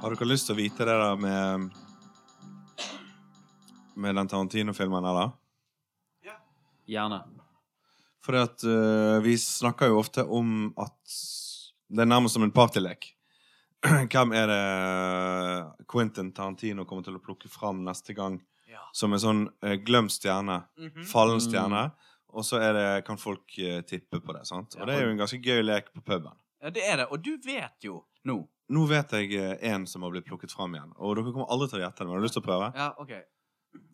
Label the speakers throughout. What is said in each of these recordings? Speaker 1: Har dere lyst til å vite det der med Med den Tarantino-filmen, eller?
Speaker 2: Gjerne.
Speaker 1: For at, eh, vi snakker jo ofte om at det er nærmest som en partylek. Hvem er det Quentin Tarantino kommer til å plukke fram neste gang
Speaker 3: Ja. Mm.
Speaker 1: som en sånn eh, glemt stjerne?
Speaker 2: Mhm.
Speaker 1: Fallen stjerne. Og så er det, kan folk eh, tippe på det. sant? Og
Speaker 3: Ja.
Speaker 1: det er jo en ganske gøy lek på puben.
Speaker 3: Ja, det er det. Og du vet jo nå.
Speaker 1: Nå vet jeg én som har blitt plukket fram igjen. Og dere kommer aldri til å gjette den. men Har du lyst til å prøve?
Speaker 3: Ja, OK.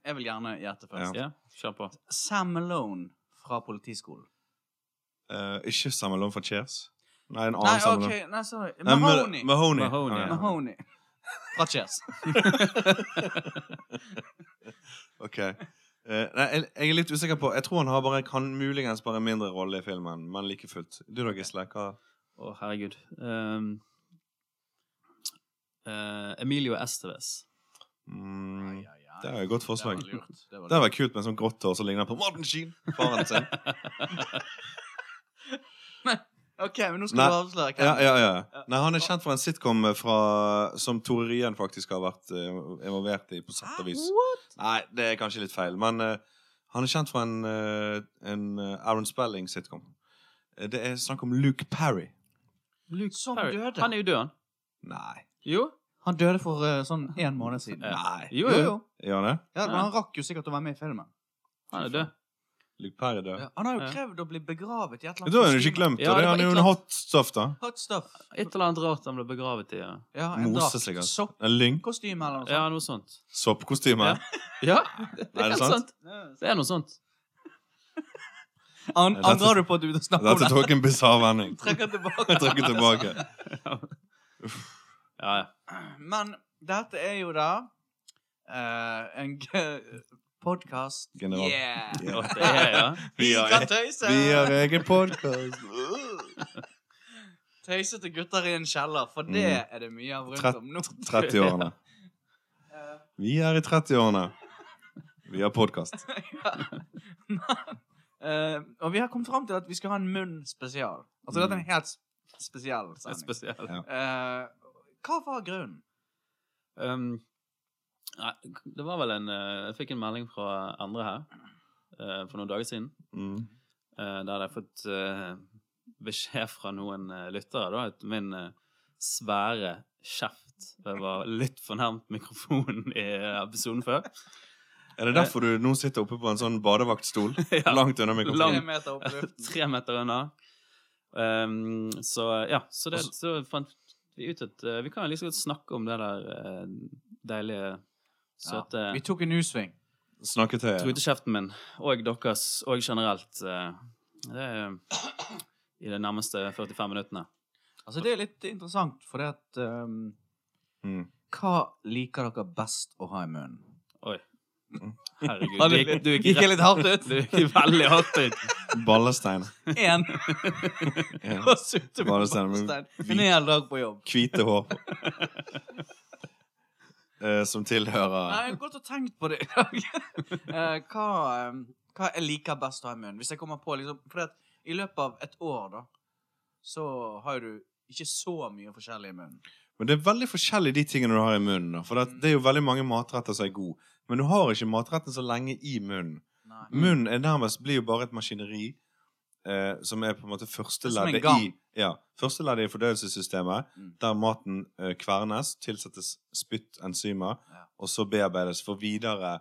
Speaker 3: Jeg vil gjerne gjette først.
Speaker 2: Ja, kjør på.
Speaker 3: Sam Malone fra Politiskolen.
Speaker 1: Eh, ikke Sam Malone fra Cheers. Nei, en annen
Speaker 3: Nei,
Speaker 1: Sam
Speaker 3: OK.
Speaker 1: Malone.
Speaker 3: Nei, sorry.
Speaker 1: Nei, Mel-
Speaker 3: Mahoney.
Speaker 1: Mahoney. Ah,
Speaker 2: Mahoney,
Speaker 1: Ja, ja.
Speaker 3: Mahoney. Fra Cheers.
Speaker 1: Ok. Eh, nei, jeg, jeg er litt usikker på Jeg tror han har bare, kan muligens bare en mindre rolle i filmen, men like fullt. Du da, Gisle? Hva
Speaker 2: Å, herregud. Ehm, eh, Emilio Estevez.
Speaker 1: mm,
Speaker 3: Ai, ai, ai.
Speaker 1: Det er jo et godt forslag.
Speaker 3: Det var lurt. Det var
Speaker 1: Det var kult med sånn grått hår som ligner på Martin Sheen, faren sin.
Speaker 3: OK, men nå skal
Speaker 1: Nei.
Speaker 3: du avsløre hvem.
Speaker 1: Ja, ja, ja. Nei, han er kjent for en sitcom fra, som Tore Ryen faktisk har vært eh, involvert i, på sett og vis. Nei, det er kanskje litt feil, men eh, han er kjent for en, eh, en eh, Aaron Spelling-sitcom. Eh, Det er snakk om Luke Parry.
Speaker 2: Luke
Speaker 3: Som
Speaker 2: Perry.
Speaker 3: sånn døde.
Speaker 2: Han er jo død, han.
Speaker 1: Nei.
Speaker 2: Jo.
Speaker 3: Han døde for eh, sånn en måned siden.
Speaker 2: Ja.
Speaker 1: Nei.
Speaker 2: Jo, jo.
Speaker 1: Gjør han det?
Speaker 3: Ja, men
Speaker 2: Ja.
Speaker 3: han rakk jo sikkert å være med i filmen.
Speaker 2: Han er død.
Speaker 1: Luke Parry dør.
Speaker 3: Ja, han har jo
Speaker 2: Ja.
Speaker 3: krevd å bli begravet i et eller
Speaker 1: Da
Speaker 3: annet
Speaker 1: er han jo
Speaker 3: kostyme.
Speaker 1: ikke glemt.
Speaker 2: Ja,
Speaker 1: og det
Speaker 2: det
Speaker 1: er
Speaker 2: var
Speaker 1: han jo
Speaker 2: et
Speaker 1: en
Speaker 2: eller
Speaker 1: hot stuff, da.
Speaker 3: Hot stuff.
Speaker 2: Et eller annet rart han ble begravet i. Ja,
Speaker 3: Ja, en
Speaker 1: Mose
Speaker 3: drakt.
Speaker 1: seg, altså.
Speaker 3: Soppkostyme
Speaker 1: En lyng.
Speaker 3: eller noe
Speaker 2: ja
Speaker 3: sånt.
Speaker 2: noe sånt.
Speaker 1: Soppkostyme.
Speaker 2: Ja. Ja, det er
Speaker 1: Er det
Speaker 2: helt
Speaker 1: sant?
Speaker 2: sant. Det er noe sånt.
Speaker 3: An
Speaker 1: Dette-
Speaker 3: Angrer du på at du begynte å snakke om
Speaker 1: Dette
Speaker 3: det?
Speaker 1: tok en bisarr vending.
Speaker 3: Trekker tilbake.
Speaker 1: Jeg trekker tilbake.
Speaker 2: Ja, ja.
Speaker 3: Men dette er jo da eh, en podkast
Speaker 1: General.
Speaker 3: Yeah! uh,
Speaker 1: Ja.
Speaker 2: Det er, ja.
Speaker 1: Vi
Speaker 3: Vi
Speaker 1: har, e-
Speaker 3: kan tøyse!
Speaker 1: vi har egen podkast.
Speaker 3: Tøysete gutter i en kjeller, for det er det mye av
Speaker 1: Mm. Trett-
Speaker 3: rundt om nå.
Speaker 1: 30-årene.
Speaker 3: Eh,
Speaker 1: Vi er i 30-årene. Vi har podkast.
Speaker 3: eh, og vi har kommet fram til at vi skal ha en munn spesial. Altså dette er
Speaker 1: Mm.
Speaker 3: en helt s- spesiell
Speaker 2: Det er
Speaker 3: sending.
Speaker 2: spesielt.
Speaker 3: Eh, hva var grunnen?
Speaker 2: Um, nei, det var vel en eh, Jeg fikk en melding fra andre her eh, for noen dager siden.
Speaker 1: Mm.
Speaker 2: eh, der hadde jeg fått eh, beskjed fra noen eh, lyttere da, at min eh, svære kjeft eh, var litt for nærmt mikrofonen i eh, episoden før.
Speaker 1: Er det derfor du nå sitter oppe på en sånn badevaktstol?
Speaker 2: Ja.
Speaker 1: Langt unna
Speaker 2: Lang-
Speaker 1: mikrofonen?
Speaker 3: Tre meter opp i luften.
Speaker 2: Tre meter unna. Um, så ja, så, det,
Speaker 3: Altså
Speaker 2: så fant vi ut at eh, vi kan jo liksom godt snakke om det der eh, deilige, søte
Speaker 3: Vi tok en U-sving.
Speaker 1: Snakketøyet.
Speaker 2: Trutekjeften min, og deres, og generelt. eh, Det er i de nærmeste 45 minuttene.
Speaker 3: Altså, det er litt interessant, for det at ehm,
Speaker 1: Mm.
Speaker 3: Hva liker dere best å ha i munnen?
Speaker 2: Oi. Herregud.
Speaker 3: Ja,
Speaker 2: Du
Speaker 3: det-
Speaker 2: gikk, du gikk,
Speaker 3: Gikk jeg
Speaker 2: rett,
Speaker 3: litt hardt ut?
Speaker 2: du gikk veldig hardt ut.
Speaker 1: Ballestein.
Speaker 3: Én.
Speaker 1: Ja.
Speaker 3: Og sutte med
Speaker 1: Ballestein, men
Speaker 3: ballestein.
Speaker 1: vi-
Speaker 3: En hel dag på jobb.
Speaker 1: Hvite hår på. Eh, som
Speaker 3: Nei,
Speaker 1: tilhører
Speaker 3: jeg har gått og tenkt på det i dag. Eh, hva, ehm, hva jeg liker best å ha i munnen? Hvis jeg kommer på liksom For at i løpet av et år, da, så har jo du ikke så mye forskjellig i munnen.
Speaker 1: Men det er veldig forskjellig de tingene du har i munnen. da. For det, det er jo veldig mange matretter som er gode. Men du har ikke matretten så lenge i munnen.
Speaker 3: Nei.
Speaker 1: Munnen er nærmest blir jo bare et maskineri eh, som er på en måte
Speaker 3: Som en
Speaker 1: førsteleddet
Speaker 3: gang.
Speaker 1: i ja, Førsteleddet i fordøyelsessystemet,
Speaker 3: Mm.
Speaker 1: der maten eh, kvernes, tilsettes spytt, enzymer,
Speaker 3: Ja.
Speaker 1: og så bearbeides for videre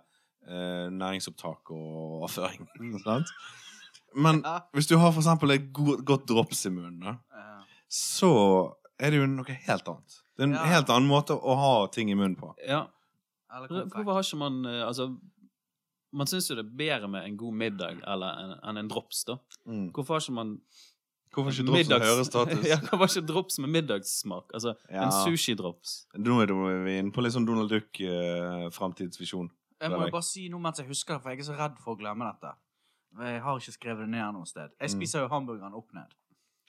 Speaker 1: eh, næringsopptak og avføring. Sant? Men
Speaker 3: Ja.
Speaker 1: hvis du har for eksempel et go godt drops i munnen, da,
Speaker 3: eh,
Speaker 1: så er det jo noe helt annet. Det er en
Speaker 3: Ja.
Speaker 1: helt annen måte å ha ting i munnen på.
Speaker 2: Ja.
Speaker 3: eller konfekt.
Speaker 2: Hvorfor har ikke man eh, Altså, man syns jo det er bedre med en god middag eller en, enn en drops, da.
Speaker 1: Mm.
Speaker 2: Hvorfor har ikke man
Speaker 1: Hvorfor ikke drops som høyere status?
Speaker 2: ja, hvorfor ikke drops med middagssmak? Altså
Speaker 1: Ja.
Speaker 2: en sushidrops.
Speaker 1: Nå er du- vi inne på litt sånn Donald eh, Duck-framtidsvisjon.
Speaker 3: Jeg
Speaker 1: Det
Speaker 3: må
Speaker 1: er
Speaker 3: jo
Speaker 1: deg.
Speaker 3: bare si noe mens jeg husker det, for jeg er så redd for å glemme dette. Jeg har ikke skrevet det ned noe sted. Jeg
Speaker 1: Mm.
Speaker 3: spiser jo hamburgeren opp ned.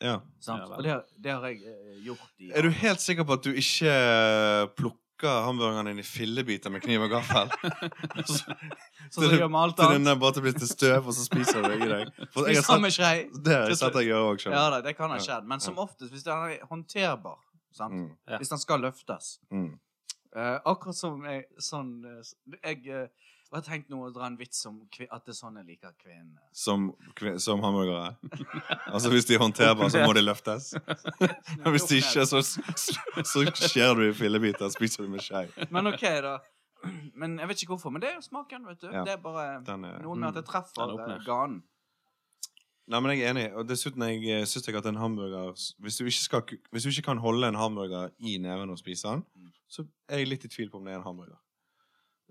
Speaker 1: ja.
Speaker 3: Sant?
Speaker 2: Ja vel.
Speaker 3: og det, har- det har jeg eh, gjort i
Speaker 1: Er du helt sikker på at du ikke eh, plukker hamburgeren din i fillebiter med kniv og gaffel? Så-
Speaker 3: Sånn som jeg gjør med alt
Speaker 1: Til den
Speaker 3: annet.
Speaker 1: er bare blir til støv, og så spiser du det i deg. For jeg har
Speaker 3: Spiser han
Speaker 1: sett,
Speaker 3: med skei.
Speaker 1: det har jeg sett deg gjøre òg,
Speaker 3: Ja
Speaker 1: sjøl.
Speaker 3: da, det kan ha
Speaker 1: Ja.
Speaker 3: skjedd. Men som oftest, hvis den er håndterbar, sant?
Speaker 1: Mm,
Speaker 2: Ja.
Speaker 3: hvis den skal løftes,
Speaker 1: mm.
Speaker 3: Eh, akkurat som jeg sånn eh, s- Jeg eh, har tenkt nå å dra en vits om kvi- at det er sånn jeg liker kvinner.
Speaker 1: Som, kve- som hamburgere. Altså, hvis de er håndterbare, så må de løftes. Og hvis de ikke, så, så skjærer du i fillebiter og spiser det med skje.
Speaker 3: Men OK, da. Men jeg vet ikke hvorfor. Men det er jo smaken, vet du.
Speaker 1: Ja. Mm.
Speaker 3: Det er bare
Speaker 1: Den er-
Speaker 3: noe med at jeg treffer
Speaker 2: Den åpner.
Speaker 3: eh, ganen.
Speaker 1: Nei, men jeg er enig. Og dessuten jeg, eh, synes jeg at en hamburger hvis du, ikke skal, ku- hvis du ikke kan holde en hamburger i neven og spise den,
Speaker 3: Mm.
Speaker 1: så er jeg litt i tvil på om det er en hamburger.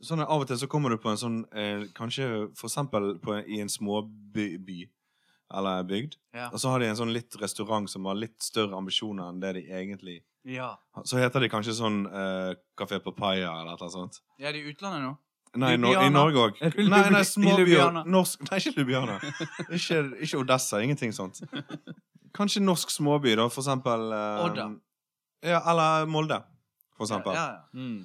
Speaker 1: Sånn, Av og til så kommer du på en sånn eh, Kanskje for eksempel på, i en småby by, eller bygd,
Speaker 3: Ja.
Speaker 1: og så har de en sånn litt restaurant som har litt større ambisjoner enn det de egentlig
Speaker 3: ja.
Speaker 1: Så heter de kanskje sånn eh, Café Papaya eller noe sånt.
Speaker 3: Jeg er i utlandet nå.
Speaker 1: Nei, no, i
Speaker 3: Ljubljana.
Speaker 1: Norge òg.
Speaker 3: Er du
Speaker 1: Nei, nei,
Speaker 3: i
Speaker 1: småbyer.
Speaker 3: Ljubljana?
Speaker 1: Norsk Nei, ikke Ljubljana. Ikke, ikke Odessa. Ingenting sånt. Kanskje norsk småby, da, for eksempel eh,
Speaker 3: Odda.
Speaker 1: Ja, eller Molde, for eksempel.
Speaker 3: Ja, ja.
Speaker 2: Mm.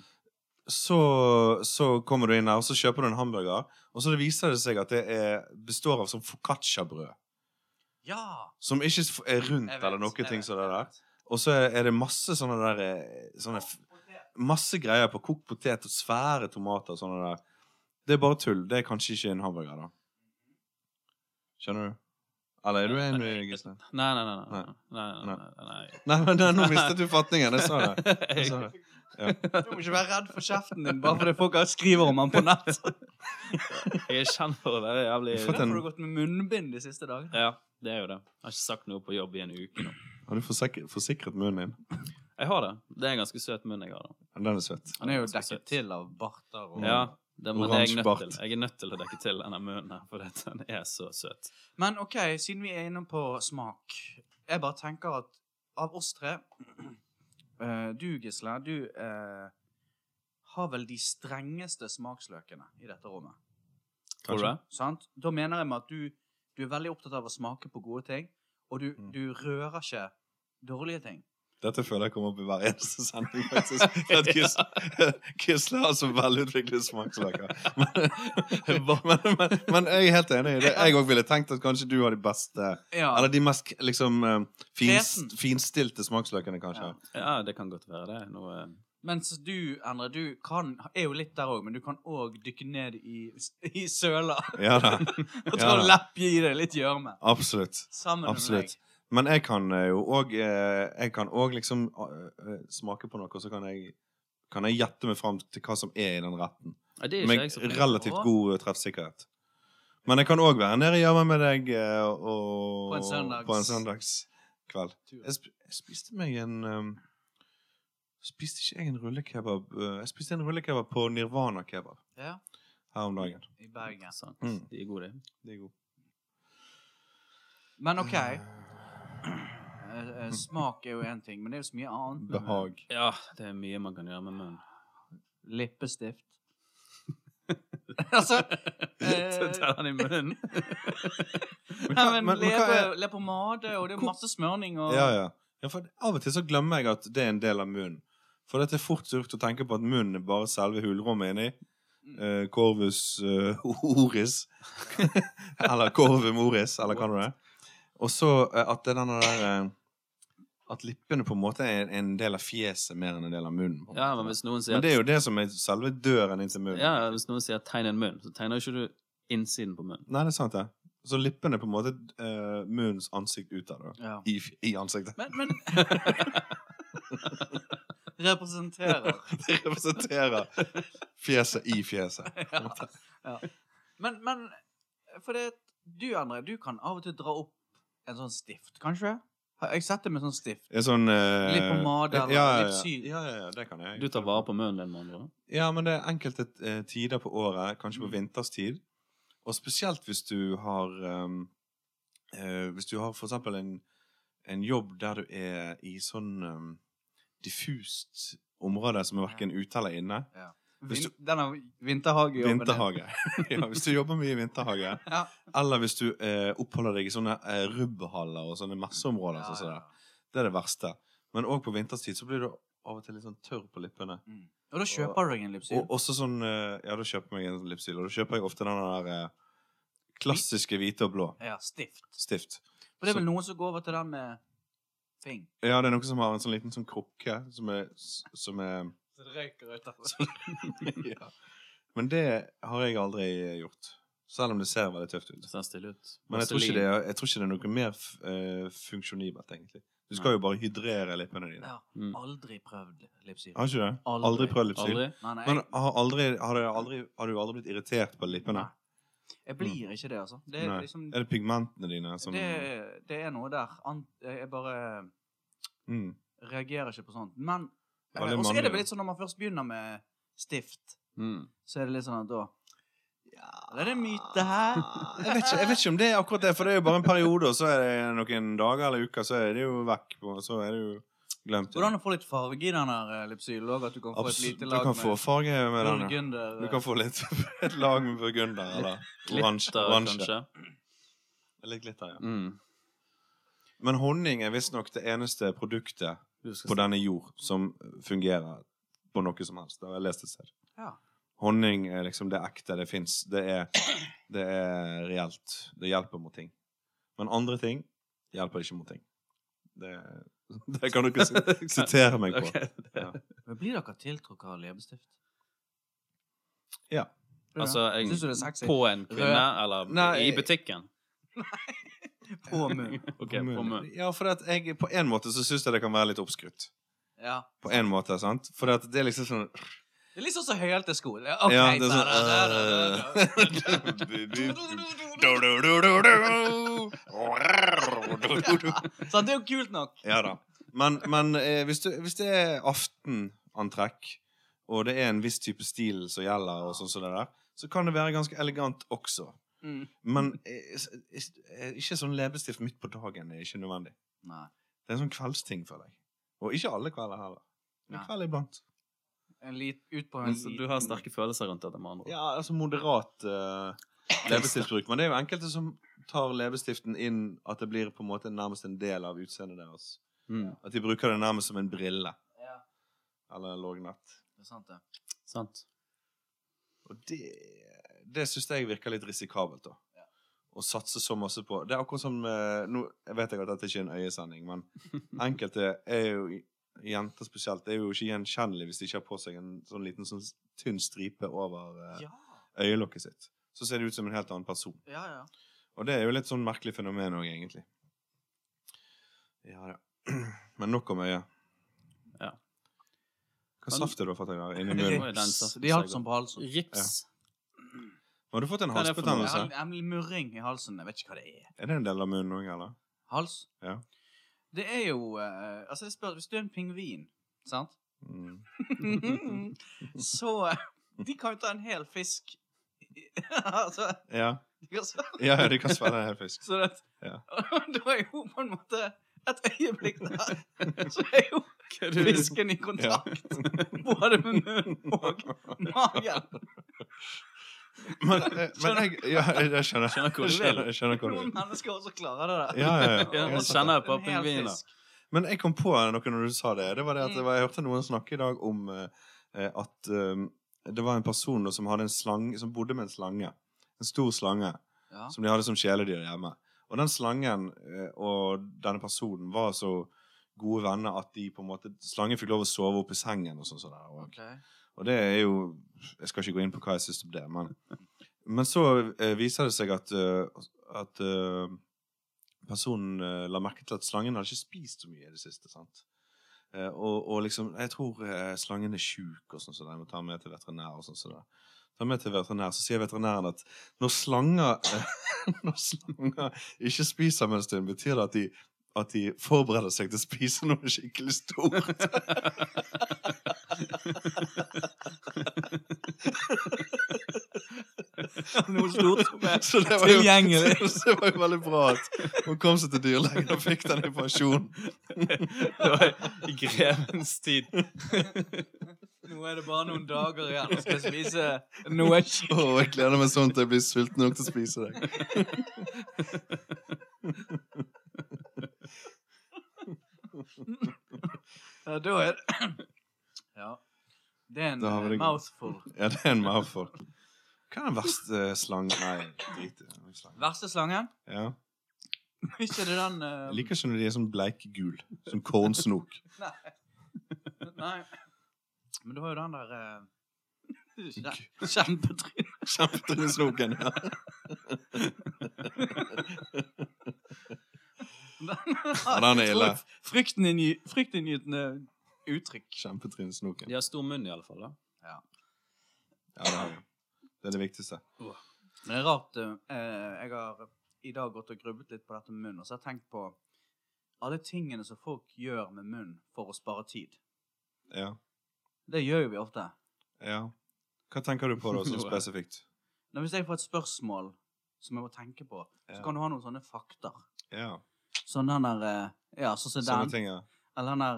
Speaker 1: Så, så kommer du inn der, og så kjøper du en hamburger, og så viser det seg at det er, består av sånn focaccia-brød.
Speaker 3: ja.
Speaker 1: Som ikke er rundt
Speaker 3: Jeg vet,
Speaker 1: eller noen
Speaker 3: jeg
Speaker 1: ting
Speaker 3: vet,
Speaker 1: som det
Speaker 3: jeg
Speaker 1: der.
Speaker 3: vet.
Speaker 1: Og så er det masse sånne der eh, sånne, f- Masse greier på kokt potet og svære tomater og sånne der. Det er bare tull. Det er kanskje ikke en hamburger, da. Skjønner du? Eller er du enig, Gisle?
Speaker 2: Nei, nei, nei. nei,
Speaker 1: Nei.
Speaker 2: nei, nei, nei,
Speaker 1: Nei, men det- nå mistet du fatningen. Jeg sa det.
Speaker 2: nei.
Speaker 1: Jeg sa det.
Speaker 3: Du må ikke være redd for kjeften din bare fordi folk skriver om han på nett.
Speaker 2: Jeg er kjent for å være jævlig
Speaker 1: Du
Speaker 3: Derfor
Speaker 1: en-
Speaker 3: har du gått med munnbind de siste dagene.
Speaker 2: Ja, det er jo det. Jeg har ikke sagt noe på jobb i en uke nå.
Speaker 1: Har du forsikret, forsikret munnen din?
Speaker 2: Jeg har det. Det er en ganske søt munn jeg har. da.
Speaker 1: Ja, Den er søt.
Speaker 3: Han er jo
Speaker 2: Ganske
Speaker 3: dekket
Speaker 2: søt.
Speaker 3: til av barter og
Speaker 2: Ja, det men jeg,
Speaker 1: Mm. Oransje
Speaker 2: er nødt
Speaker 1: bart.
Speaker 2: til. jeg er nødt til å dekke til denne munnen her, for at den er så søt.
Speaker 3: Men OK, siden vi er inne på smak Jeg bare tenker at av oss tre eh, Du, Gisle, du eh, har vel de strengeste smaksløkene i dette rommet.
Speaker 2: Tror du
Speaker 1: Kanskje.
Speaker 2: det?
Speaker 3: Sant? Da mener jeg med at du, du er veldig opptatt av å smake på gode ting, og du,
Speaker 1: Mm.
Speaker 3: du rører ikke dårlige ting.
Speaker 1: Dette føler jeg kommer opp i hver eneste sending, faktisk. At Gisle, Gisle har så velutviklede smaksløker. Men, men, men, men jeg er helt enig. i det. Jeg òg ville tenkt at kanskje du har de beste
Speaker 3: Ja.
Speaker 1: Eller de mest liksom eh, fins,
Speaker 3: Kresen.
Speaker 1: finstilte smaksløkene, kanskje.
Speaker 3: Ja.
Speaker 2: Ja, det kan godt være det. Noe, eh,
Speaker 3: Mens du, Endre, du kan, er jo litt der òg, men du kan òg dykke ned i, i søla
Speaker 1: Ja da.
Speaker 3: og ta
Speaker 1: Ja.
Speaker 3: og leppe i deg litt gjørme.
Speaker 1: Absolutt.
Speaker 3: Sammen
Speaker 1: Absolutt. Men jeg kan eh, jo òg Jeg kan òg liksom eh, eh, smake på noe, og så kan jeg kan jeg gjette meg fram til hva som er i den retten.
Speaker 2: Nei, det er ikke
Speaker 1: Med
Speaker 2: jeg så flink
Speaker 1: relativt
Speaker 3: på.
Speaker 1: god eh, treffsikkerhet. Men jeg kan òg være nede hjemme med deg eh, og
Speaker 3: På en søndags-
Speaker 1: på en søndagskveld.
Speaker 3: med deg.
Speaker 1: Jeg, sp jeg spiste meg en um, Spiste ikke jeg en rullekebab eh, Jeg spiste en rullekebab på Nirvana kebab
Speaker 3: Ja,
Speaker 1: her om dagen.
Speaker 3: I Bergen.
Speaker 2: Sant.
Speaker 1: Mm.
Speaker 2: De er gode, de.
Speaker 1: Det er god.
Speaker 3: Men OK. eh, eh, Smak er jo én ting, men det er jo så mye annet. med
Speaker 1: Mm. Behag.
Speaker 2: Ja, det er mye man kan gjøre med munnen.
Speaker 3: munn. Leppestift. altså eh,
Speaker 2: Ta den i munnen.
Speaker 1: Men
Speaker 3: Nei,
Speaker 1: hva- men-
Speaker 3: men,
Speaker 1: men hva
Speaker 3: leppe,
Speaker 1: er-
Speaker 3: leppepomade, og det er masse smørning og
Speaker 1: Ja, ja. ja for av og til så glemmer jeg at det er en del av munnen. For det er fort gjort å tenke på at munnen er bare selve hulrommet inni.
Speaker 2: Mm.
Speaker 1: eh, corvus eh, oris. eller corvum oris, eller hva det er. Og så eh, at det er denne der eh, At lippene på en måte er en- en del av fjeset mer enn en del av munnen. på en
Speaker 2: Ja,
Speaker 1: måte.
Speaker 2: men hvis noen sier
Speaker 1: Men det er jo det som er selve døren inn til munnen.
Speaker 2: ja, hvis noen sier 'tegn en munn', så tegner jo ikke du innsiden på munnen.
Speaker 1: Nei, det er sant, det. Så lippene er på en måte eh, munnens ansikt utad. da.
Speaker 3: ja.
Speaker 1: I, f- I ansiktet.
Speaker 3: Men, men Representerer.
Speaker 1: Det representerer fjeset i fjeset.
Speaker 3: ja. ja. Men, men For det du, André, du kan av og til dra opp en sånn stift, kanskje? Har jeg sett det med sånn stift?
Speaker 1: En sånn eh,
Speaker 3: Litt pomade eller
Speaker 1: ja, ja, ja.
Speaker 3: lipsyl.
Speaker 1: Ja, ja, ja, det kan jeg.
Speaker 2: Du tar vare på munnen din, med andre ord.
Speaker 1: Ja, men det er enkelte eh, tider på året, kanskje på
Speaker 3: Mm.
Speaker 1: vinterstid. Og spesielt hvis du har um, eh, Hvis du har for eksempel en, en jobb der du er i sånn um, diffust område som er verken ute eller inne. Hvis
Speaker 3: Vin,
Speaker 1: du-
Speaker 3: denne vinterhagejobben. din.
Speaker 1: Vinterhage. ja, hvis du jobber mye i vinterhage.
Speaker 3: Ja.
Speaker 1: Eller hvis du eh, oppholder deg i sånne eh, rubbhaller og sånne messeområder. sånn som det. Det er det verste. Men òg på vinterstid så blir du av og til litt sånn tørr på lippene.
Speaker 3: Mm. Og da kjøper du deg en lipsyl.
Speaker 1: Og også sånn eh, Ja, da kjøper jeg meg en lipsyl, og da kjøper jeg ofte den der eh, klassiske hvite og blå
Speaker 3: Ja, stift.
Speaker 1: stift.
Speaker 3: For det er vel noen som går over til den med fing.
Speaker 1: Ja, det er noen som har en sånn liten sånn krukke som er, s- som er
Speaker 3: så det røyker ut altså. av det.
Speaker 1: ja. Men det har jeg aldri gjort. Selv om det ser veldig tøft ut.
Speaker 2: Det ser stille ut.
Speaker 1: Men jeg tror ikke det
Speaker 2: Vaselin.
Speaker 1: er, jeg tror ikke det er noe mer f- eh, funksjonibelt, egentlig. Du skal
Speaker 2: Nei.
Speaker 1: jo bare hydrere lippene dine.
Speaker 3: Ja.
Speaker 2: Mm.
Speaker 3: Aldri prøvd
Speaker 1: Har
Speaker 3: lipsyre.
Speaker 1: ikke det?
Speaker 3: Aldri.
Speaker 1: Aldri, prøvd lipsyl?
Speaker 2: Aldri?
Speaker 3: Nei, nei,
Speaker 1: Men
Speaker 3: jeg,
Speaker 1: har, aldri, har, du aldri, har du aldri blitt irritert på lippene?
Speaker 3: Nei. jeg blir ikke det, altså. Det er
Speaker 1: Nei.
Speaker 3: liksom
Speaker 1: Er det pigmentene dine som
Speaker 3: det, det er noe der. An- Jeg bare
Speaker 1: mm.
Speaker 3: reagerer ikke på sånt. Men eh,
Speaker 1: Veldig
Speaker 3: Og så er det
Speaker 1: mannlig,
Speaker 3: vel litt sånn når man først begynner med stift,
Speaker 2: Mm.
Speaker 3: så er det litt sånn at da Det er en myte her.
Speaker 1: jeg, vet ikke, jeg vet ikke om det er akkurat det, for det er jo bare en periode, og så er det noen dager eller uker, så er det jo vekk, og så er det jo glemt.
Speaker 3: Hvordan å få litt farge i den her lypsylen òg? At du kan få
Speaker 1: Absolutt.
Speaker 3: et lite
Speaker 1: Du
Speaker 3: lag
Speaker 1: kan få farge med den. ja.
Speaker 3: burgunder.
Speaker 1: Du kan få litt, et lag med burgunder eller oransje.
Speaker 2: Glitter,
Speaker 1: oransje.
Speaker 2: kanskje.
Speaker 1: Litt glitter, ja.
Speaker 2: Mm.
Speaker 1: Men honning er visstnok det eneste produktet
Speaker 2: Du skal
Speaker 1: på denne jord som fungerer på noe som helst. Det har jeg lest et sted.
Speaker 3: Ja.
Speaker 1: Honning er liksom det ekte, det fins. Det, er- det er reelt. Det hjelper mot ting. Men andre ting hjelper ikke mot ting. Det, det kan du ikke si- sitere meg på.
Speaker 2: Ok, det-
Speaker 1: Ja.
Speaker 3: Men blir dere tiltrukket av leppestift?
Speaker 1: Ja.
Speaker 2: Altså, jeg,
Speaker 3: Syns du det er sexy?
Speaker 2: På en kvinne, eller
Speaker 1: Nei.
Speaker 2: i butikken?
Speaker 3: På munn.
Speaker 2: Ok, på munn.
Speaker 1: Ja, for at jeg, på en måte så syns jeg det kan være litt oppskrytt.
Speaker 3: Ja.
Speaker 1: På en måte, sant? For at det er liksom sånn
Speaker 3: Det er litt sånn som høyhælte sko. Ja, ok,
Speaker 1: Ja, det er eh,
Speaker 3: da, da, da, da, da, da.
Speaker 1: sånn
Speaker 3: Så det er jo kult nok.
Speaker 1: Ja da. Men, men eh, hvis, du, hvis det er aftenantrekk, og det er en viss type stil som gjelder, og sånn som det der, så kan det være ganske elegant også.
Speaker 3: Mm.
Speaker 1: Men eh, s- s- eh, ikke sånn leppestift midt på dagen er ikke nødvendig.
Speaker 3: Nei.
Speaker 1: Det er en sånn kveldsting, føler jeg. Og ikke alle kvelder heller. En
Speaker 3: Nei.
Speaker 1: kveld iblant.
Speaker 3: En lit, ut på en
Speaker 2: Men så Du har sterke følelser rundt dette, med andre ord.
Speaker 1: Ja, altså moderat eh, leppestiftbruk. Men det er jo enkelte som tar leppestiften inn at det blir på en måte nærmest en del av utseendet deres.
Speaker 2: Mm,
Speaker 1: At de bruker det nærmest som en brille
Speaker 3: Ja,
Speaker 1: eller en lågnett.
Speaker 3: det er sant, det.
Speaker 2: sant.
Speaker 1: Og det, det syns jeg virker litt risikabelt, da.
Speaker 3: Ja.
Speaker 1: Å satse så masse på Det er akkurat som eh, Nå jeg vet jeg at dette ikke er en øyesending, men enkelte er jo Jenter spesielt er jo ikke gjenkjennelige hvis de ikke har på seg en sånn liten sånn tynn stripe over eh,
Speaker 3: Ja,
Speaker 1: øyelokket sitt. Så ser de ut som en helt annen person.
Speaker 3: ja. ja.
Speaker 1: Og det er jo litt sånn merkelig fenomen òg, egentlig. Ja, ja. Men nok om øyet.
Speaker 2: Ja.
Speaker 1: Hva saft er det du har fått i dag? Inni munnen?
Speaker 3: Rips. De har alt som på halsen.
Speaker 2: Rips.
Speaker 1: Har du fått en
Speaker 2: Hva er det for noe?
Speaker 1: halsbetennelse?
Speaker 3: Jeg har en murring i halsen. Jeg vet ikke hva det er.
Speaker 1: Er det en del av munnen òg, eller?
Speaker 3: Hals?
Speaker 1: Ja.
Speaker 3: Det er jo eh, Altså, jeg spør, hvis du er en pingvin, sant
Speaker 1: Mm.
Speaker 3: Så eh, De kan jo ta en hel fisk Altså
Speaker 1: Ja.
Speaker 3: de kan svelge-
Speaker 1: ja, ja, de kan svelge en hel fisk.
Speaker 3: Så det
Speaker 1: Ja.
Speaker 3: Da er jo på en måte Et øyeblikk der Så er jo fisken i kontakt Både med munnen og magen
Speaker 1: Men, eh, men jeg Ja, jeg
Speaker 2: Skjønner
Speaker 1: skjønner.
Speaker 2: hvor du
Speaker 1: Jeg skjønner, jeg skjønner hvor du
Speaker 3: Noen
Speaker 1: vil.
Speaker 3: mennesker også klarer det der
Speaker 1: Ja, ja, ja.
Speaker 2: Ja,
Speaker 1: Jeg
Speaker 2: nå
Speaker 1: skjønner.
Speaker 2: kjenner jeg på
Speaker 3: En hel
Speaker 2: pingviner.
Speaker 3: fisk.
Speaker 1: Men jeg kom på noe når du sa det. Det var det at det var, Jeg hørte noen snakke i dag om eh, eh, at eh, det var en person da som, hadde en slange, som bodde med en slange. En stor slange
Speaker 3: Ja.
Speaker 1: som de hadde som kjæledyr hjemme. Og den slangen eh, og denne personen var så gode venner at de på en måte Slangen fikk lov å sove oppe i sengen og sånn. sånn der, og,
Speaker 3: Ok.
Speaker 1: og det er jo Jeg skal ikke gå inn på hva jeg syns om det, men Men så eh, viser det seg at, eh, at eh, personen eh, la merke til at slangen hadde ikke spist så mye i det siste. sant? Eh, og, og liksom Jeg tror eh, slangen er sjuk, og sånn så jeg må ta med til veterinær. og sånn så der. Ta med til veterinær, Så sier veterinæren at når slanger, eh, når slanger ikke spiser med en stund, betyr det at de, at de forbereder seg til å spise noe skikkelig stort.
Speaker 3: Noe stort som er
Speaker 1: Så det var jo,
Speaker 3: Tilgjengelig.
Speaker 1: så det var jo veldig bra at hun kom seg til dyrlegen og fikk den informasjonen.
Speaker 2: Det var i grevens tid.
Speaker 3: Nå er det bare noen dager igjen. Nå skal jeg spise noe
Speaker 1: Å, jeg gleder meg sånn til jeg blir sulten nok til å spise deg.
Speaker 3: Ja, Da er det Ja. Det er en
Speaker 1: Da har vi det
Speaker 3: eh,
Speaker 1: godt.
Speaker 3: mouthful.
Speaker 1: Ja, det er en mouthful. Hva er den verste slangen? Nei, drit i den slangen.
Speaker 3: Verste slangen?
Speaker 1: Ja.
Speaker 3: Ikke det den eh,
Speaker 1: Jeg liker ikke når de er sånn bleikgul. Som kornsnok.
Speaker 3: Nei. Men du har jo den der eh, Kjempetrynet.
Speaker 1: Kjempetrysnoken. Ja. Ja, den er ille.
Speaker 3: Fryktinngy- Fryktinngytende uttrykk.
Speaker 1: Kjempetrysnoken.
Speaker 2: De har stor munn, i alle fall, da.
Speaker 1: Ja, det, har vi. det er det viktigste.
Speaker 3: Men det er rart. eh, jeg har i dag gått og grublet litt på dette med munn, og så har jeg tenkt på alle tingene som folk gjør med munn for å spare tid.
Speaker 1: Ja.
Speaker 3: Det gjør jo vi ofte.
Speaker 1: ja. Hva tenker du på da, sånn spesifikt?
Speaker 3: Men hvis jeg får et spørsmål som jeg må tenke på, så
Speaker 1: Ja.
Speaker 3: kan du ha noen sånne fakter.
Speaker 1: Ja.
Speaker 3: Sånn den der eh, Ja, sånn som
Speaker 1: Sånne
Speaker 3: den.
Speaker 1: ting, ja.
Speaker 3: Eller den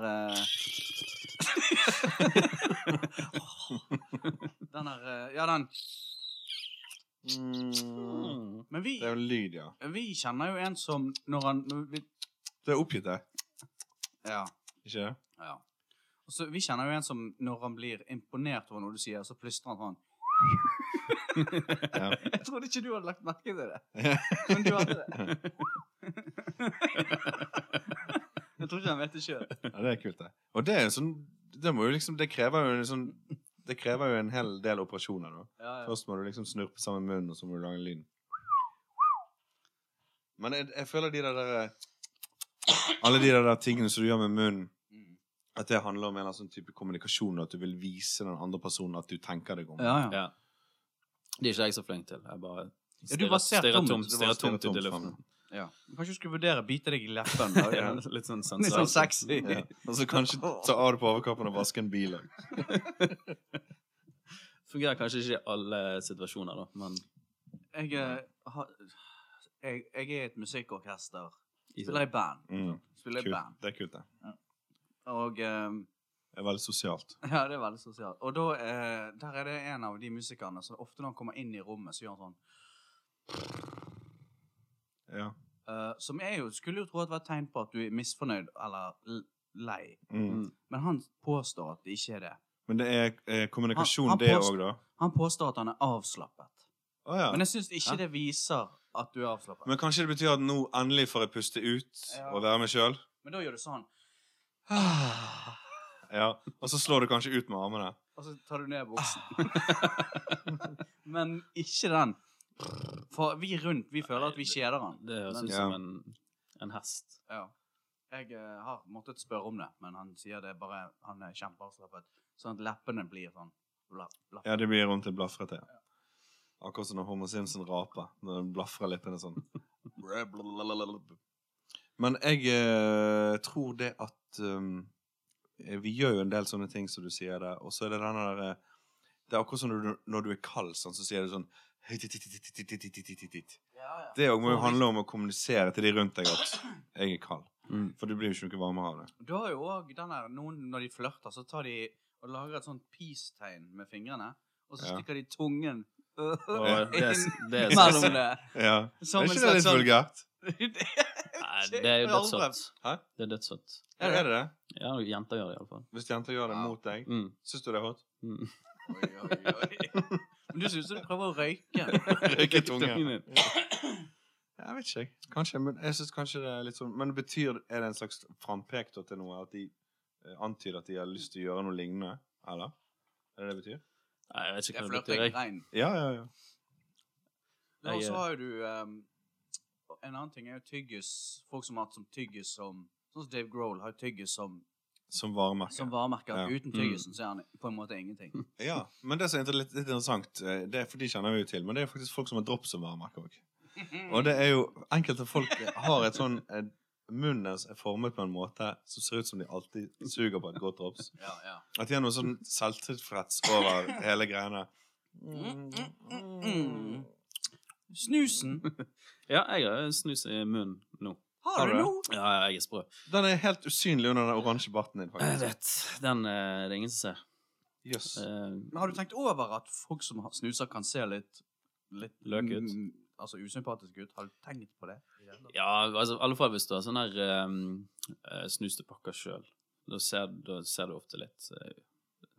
Speaker 3: der eh, Den der eh, Ja, den.
Speaker 2: Mm.
Speaker 3: Men vi,
Speaker 1: Det er jo en lyd, ja.
Speaker 3: vi kjenner jo en som når han når vi,
Speaker 1: Det er oppgitt, det.
Speaker 3: Ja.
Speaker 1: Ikke det?
Speaker 3: Ja. Og så, vi kjenner jo en som når han blir imponert over noe du sier, så plystrer han sånn.
Speaker 1: Ja.
Speaker 3: Jeg trodde ikke du hadde lagt merke til det. Men du hadde det. Jeg tror ikke han vet det sjøl.
Speaker 1: Ja, det er kult, det. Og det er en sånn Det må jo liksom Det krever jo en sånn Det krever jo en hel del operasjoner, da.
Speaker 3: Ja, ja.
Speaker 1: Først må du liksom snurpe sammen munnen, og så må du lage lyden. Men jeg, jeg føler de der, der Alle de der, der tingene som du gjør med munnen,
Speaker 3: Mm.
Speaker 1: at det handler om en eller annen sånn type kommunikasjon, og at du vil vise den andre personen at du tenker deg om.
Speaker 3: ja, ja.
Speaker 2: Ja. Det er ikke jeg så flink til. Jeg bare
Speaker 3: Ja, du bare ser tomt.
Speaker 2: tomt,
Speaker 1: Du
Speaker 2: stirrer
Speaker 1: bare stirrer
Speaker 2: tomt ut
Speaker 1: tomt
Speaker 2: i luften.
Speaker 3: ja. Kanskje du skulle vurdere å bite deg i leppen? Da,
Speaker 2: Ja,
Speaker 3: ja.
Speaker 2: Litt sånn
Speaker 3: Litt sånn sexy.
Speaker 1: Ja. Og så kanskje ta av deg på overkroppen og vaske en bil òg.
Speaker 2: Fungerer kanskje ikke i alle situasjoner, da, men
Speaker 3: Jeg, eh, har- jeg, jeg er i et musikkorkester. Spiller i band.
Speaker 1: Mm.
Speaker 3: Spiller i
Speaker 1: Kult.
Speaker 3: band.
Speaker 1: Det er kult, det.
Speaker 3: Og eh,
Speaker 1: Det er veldig sosialt.
Speaker 3: Ja, det er veldig sosialt. Og da, eh, der er det en av de musikerne som ofte når han kommer inn i rommet, så gjør han sånn.
Speaker 1: Ja.
Speaker 3: eh, som er jo, skulle jo tro at det var et tegn på at du er misfornøyd eller l- lei.
Speaker 1: Mm.
Speaker 3: Men han påstår at det ikke er det.
Speaker 1: Men det er eh, kommunikasjon,
Speaker 3: Han- han
Speaker 1: det
Speaker 3: påst-
Speaker 1: òg, da?
Speaker 3: Han påstår at han er avslappet.
Speaker 1: Å ja.
Speaker 3: Men jeg syns ikke
Speaker 2: Ja.
Speaker 3: det viser at du er avslappet. Men,
Speaker 1: Men kanskje det betyr at nå endelig får jeg puste ut
Speaker 3: Ja.
Speaker 1: og være meg sjøl?
Speaker 3: da gjør du sånn,
Speaker 1: Ja. Og så slår du kanskje ut med armene.
Speaker 3: og så tar du ned buksen. Men ikke den. For vi rundt, vi føler at vi kjeder han.
Speaker 2: Det høres ut
Speaker 1: Ja.
Speaker 2: som en, en hest.
Speaker 3: Ja. Jeg eh, har måttet spørre om det, men han sier det bare Han er kjempeavslappet. Sånn at leppene blir sånn bla, bla.
Speaker 1: Ja, det blir rundt en blafrete. ja. Akkurat som når Homer Simpson raper. Når den blafrer lippene sånn. Men jeg eh, tror det at um, eh, Vi gjør jo en del sånne ting som du sier der, og så er det den der eh, Det er akkurat som når du, når du er kald, sånn, så sier du sånn
Speaker 3: Ja, ja.
Speaker 1: Det òg må jo handle om å kommunisere til de rundt deg at jeg er kald.
Speaker 2: Mm.
Speaker 1: For du blir jo ikke noe varmere av det.
Speaker 3: Du har jo òg den der Noen når de flørter, så tar de og lager et sånt peace-tegn med fingrene, og så
Speaker 1: Ja.
Speaker 3: stikker de tungen
Speaker 2: Og det, er-
Speaker 3: inn
Speaker 2: det er
Speaker 3: mellom
Speaker 2: sexy.
Speaker 3: det.
Speaker 1: Ja.
Speaker 3: Som
Speaker 1: er
Speaker 3: en
Speaker 1: ikke det
Speaker 3: slags
Speaker 1: litt
Speaker 3: sånn-
Speaker 1: vulgært?
Speaker 3: Det
Speaker 2: Nei, det er jo sånn. dødssøtt.
Speaker 1: Hæ?
Speaker 2: Det er dødssøtt.
Speaker 3: Er
Speaker 1: Er
Speaker 3: det?
Speaker 1: det det?
Speaker 2: Ja, jenter gjør det iallfall.
Speaker 1: Hvis jenter gjør det
Speaker 3: Ja.
Speaker 1: mot deg,
Speaker 2: Mm.
Speaker 1: syns du det er hot?
Speaker 2: Mm.
Speaker 3: Oi, oi, oi. Men du synes du prøver å røyke.
Speaker 1: Røyke tunge.
Speaker 2: Tungen din.
Speaker 1: Jeg vet ikke. Kanskje, men jeg synes kanskje det er litt sånn Men det betyr er det en slags frampek da til noe? At de eh, antyder at de har lyst til å gjøre noe lignende? Eller? Er det det betyr?
Speaker 2: Nei, jeg vet
Speaker 3: Det
Speaker 2: ikke hva
Speaker 3: er
Speaker 2: det betyr. jeg.
Speaker 3: flørtegrein.
Speaker 1: Ja, ja, ja.
Speaker 3: Ja, Og
Speaker 2: Jeg,
Speaker 3: så
Speaker 2: eh,
Speaker 3: har jo du ehm, En annen ting er jo tyggis. Folk som har hatt som tyggis som Sånn som Dave Grohl har jo tyggis som,
Speaker 1: Som varemerke.
Speaker 3: som varemerke.
Speaker 1: Ja.
Speaker 3: Uten tyggisen så er han på en måte ingenting.
Speaker 1: ja. Men det som er inter- litt, litt interessant, eh, det, er- for de kjenner vi jo til, men det er jo faktisk folk som har drops som varemerke òg. Og det er jo enkelte folk har et sånn eh, Munnen deres er formet på en måte som ser ut som de alltid suger på et godt drops.
Speaker 3: Ja, ja.
Speaker 1: At de har noe sånn selvtilfreds over hele greiene.
Speaker 3: mm. Snusen.
Speaker 2: Ja, jeg har snus i munnen nå.
Speaker 1: Har
Speaker 3: Har du
Speaker 1: du?
Speaker 3: noe?
Speaker 2: Ja, ja, jeg er sprø.
Speaker 1: Den er helt usynlig under den oransje barten din,
Speaker 2: Jeg
Speaker 1: faktisk.
Speaker 2: vet. Eh, Den eh, det er ingen som ser.
Speaker 1: Jøss.
Speaker 2: Eh,
Speaker 3: Men har du tenkt over at folk som har- snuser, kan se litt Litt
Speaker 2: Løk ut.
Speaker 3: mm, Altså usympatisk ut. Har du tenkt på det?
Speaker 2: ja, altså, i alle fall hvis du har sånn her ehm, eh, snus du pakker sjøl. Da, ser- da ser du ofte litt eh,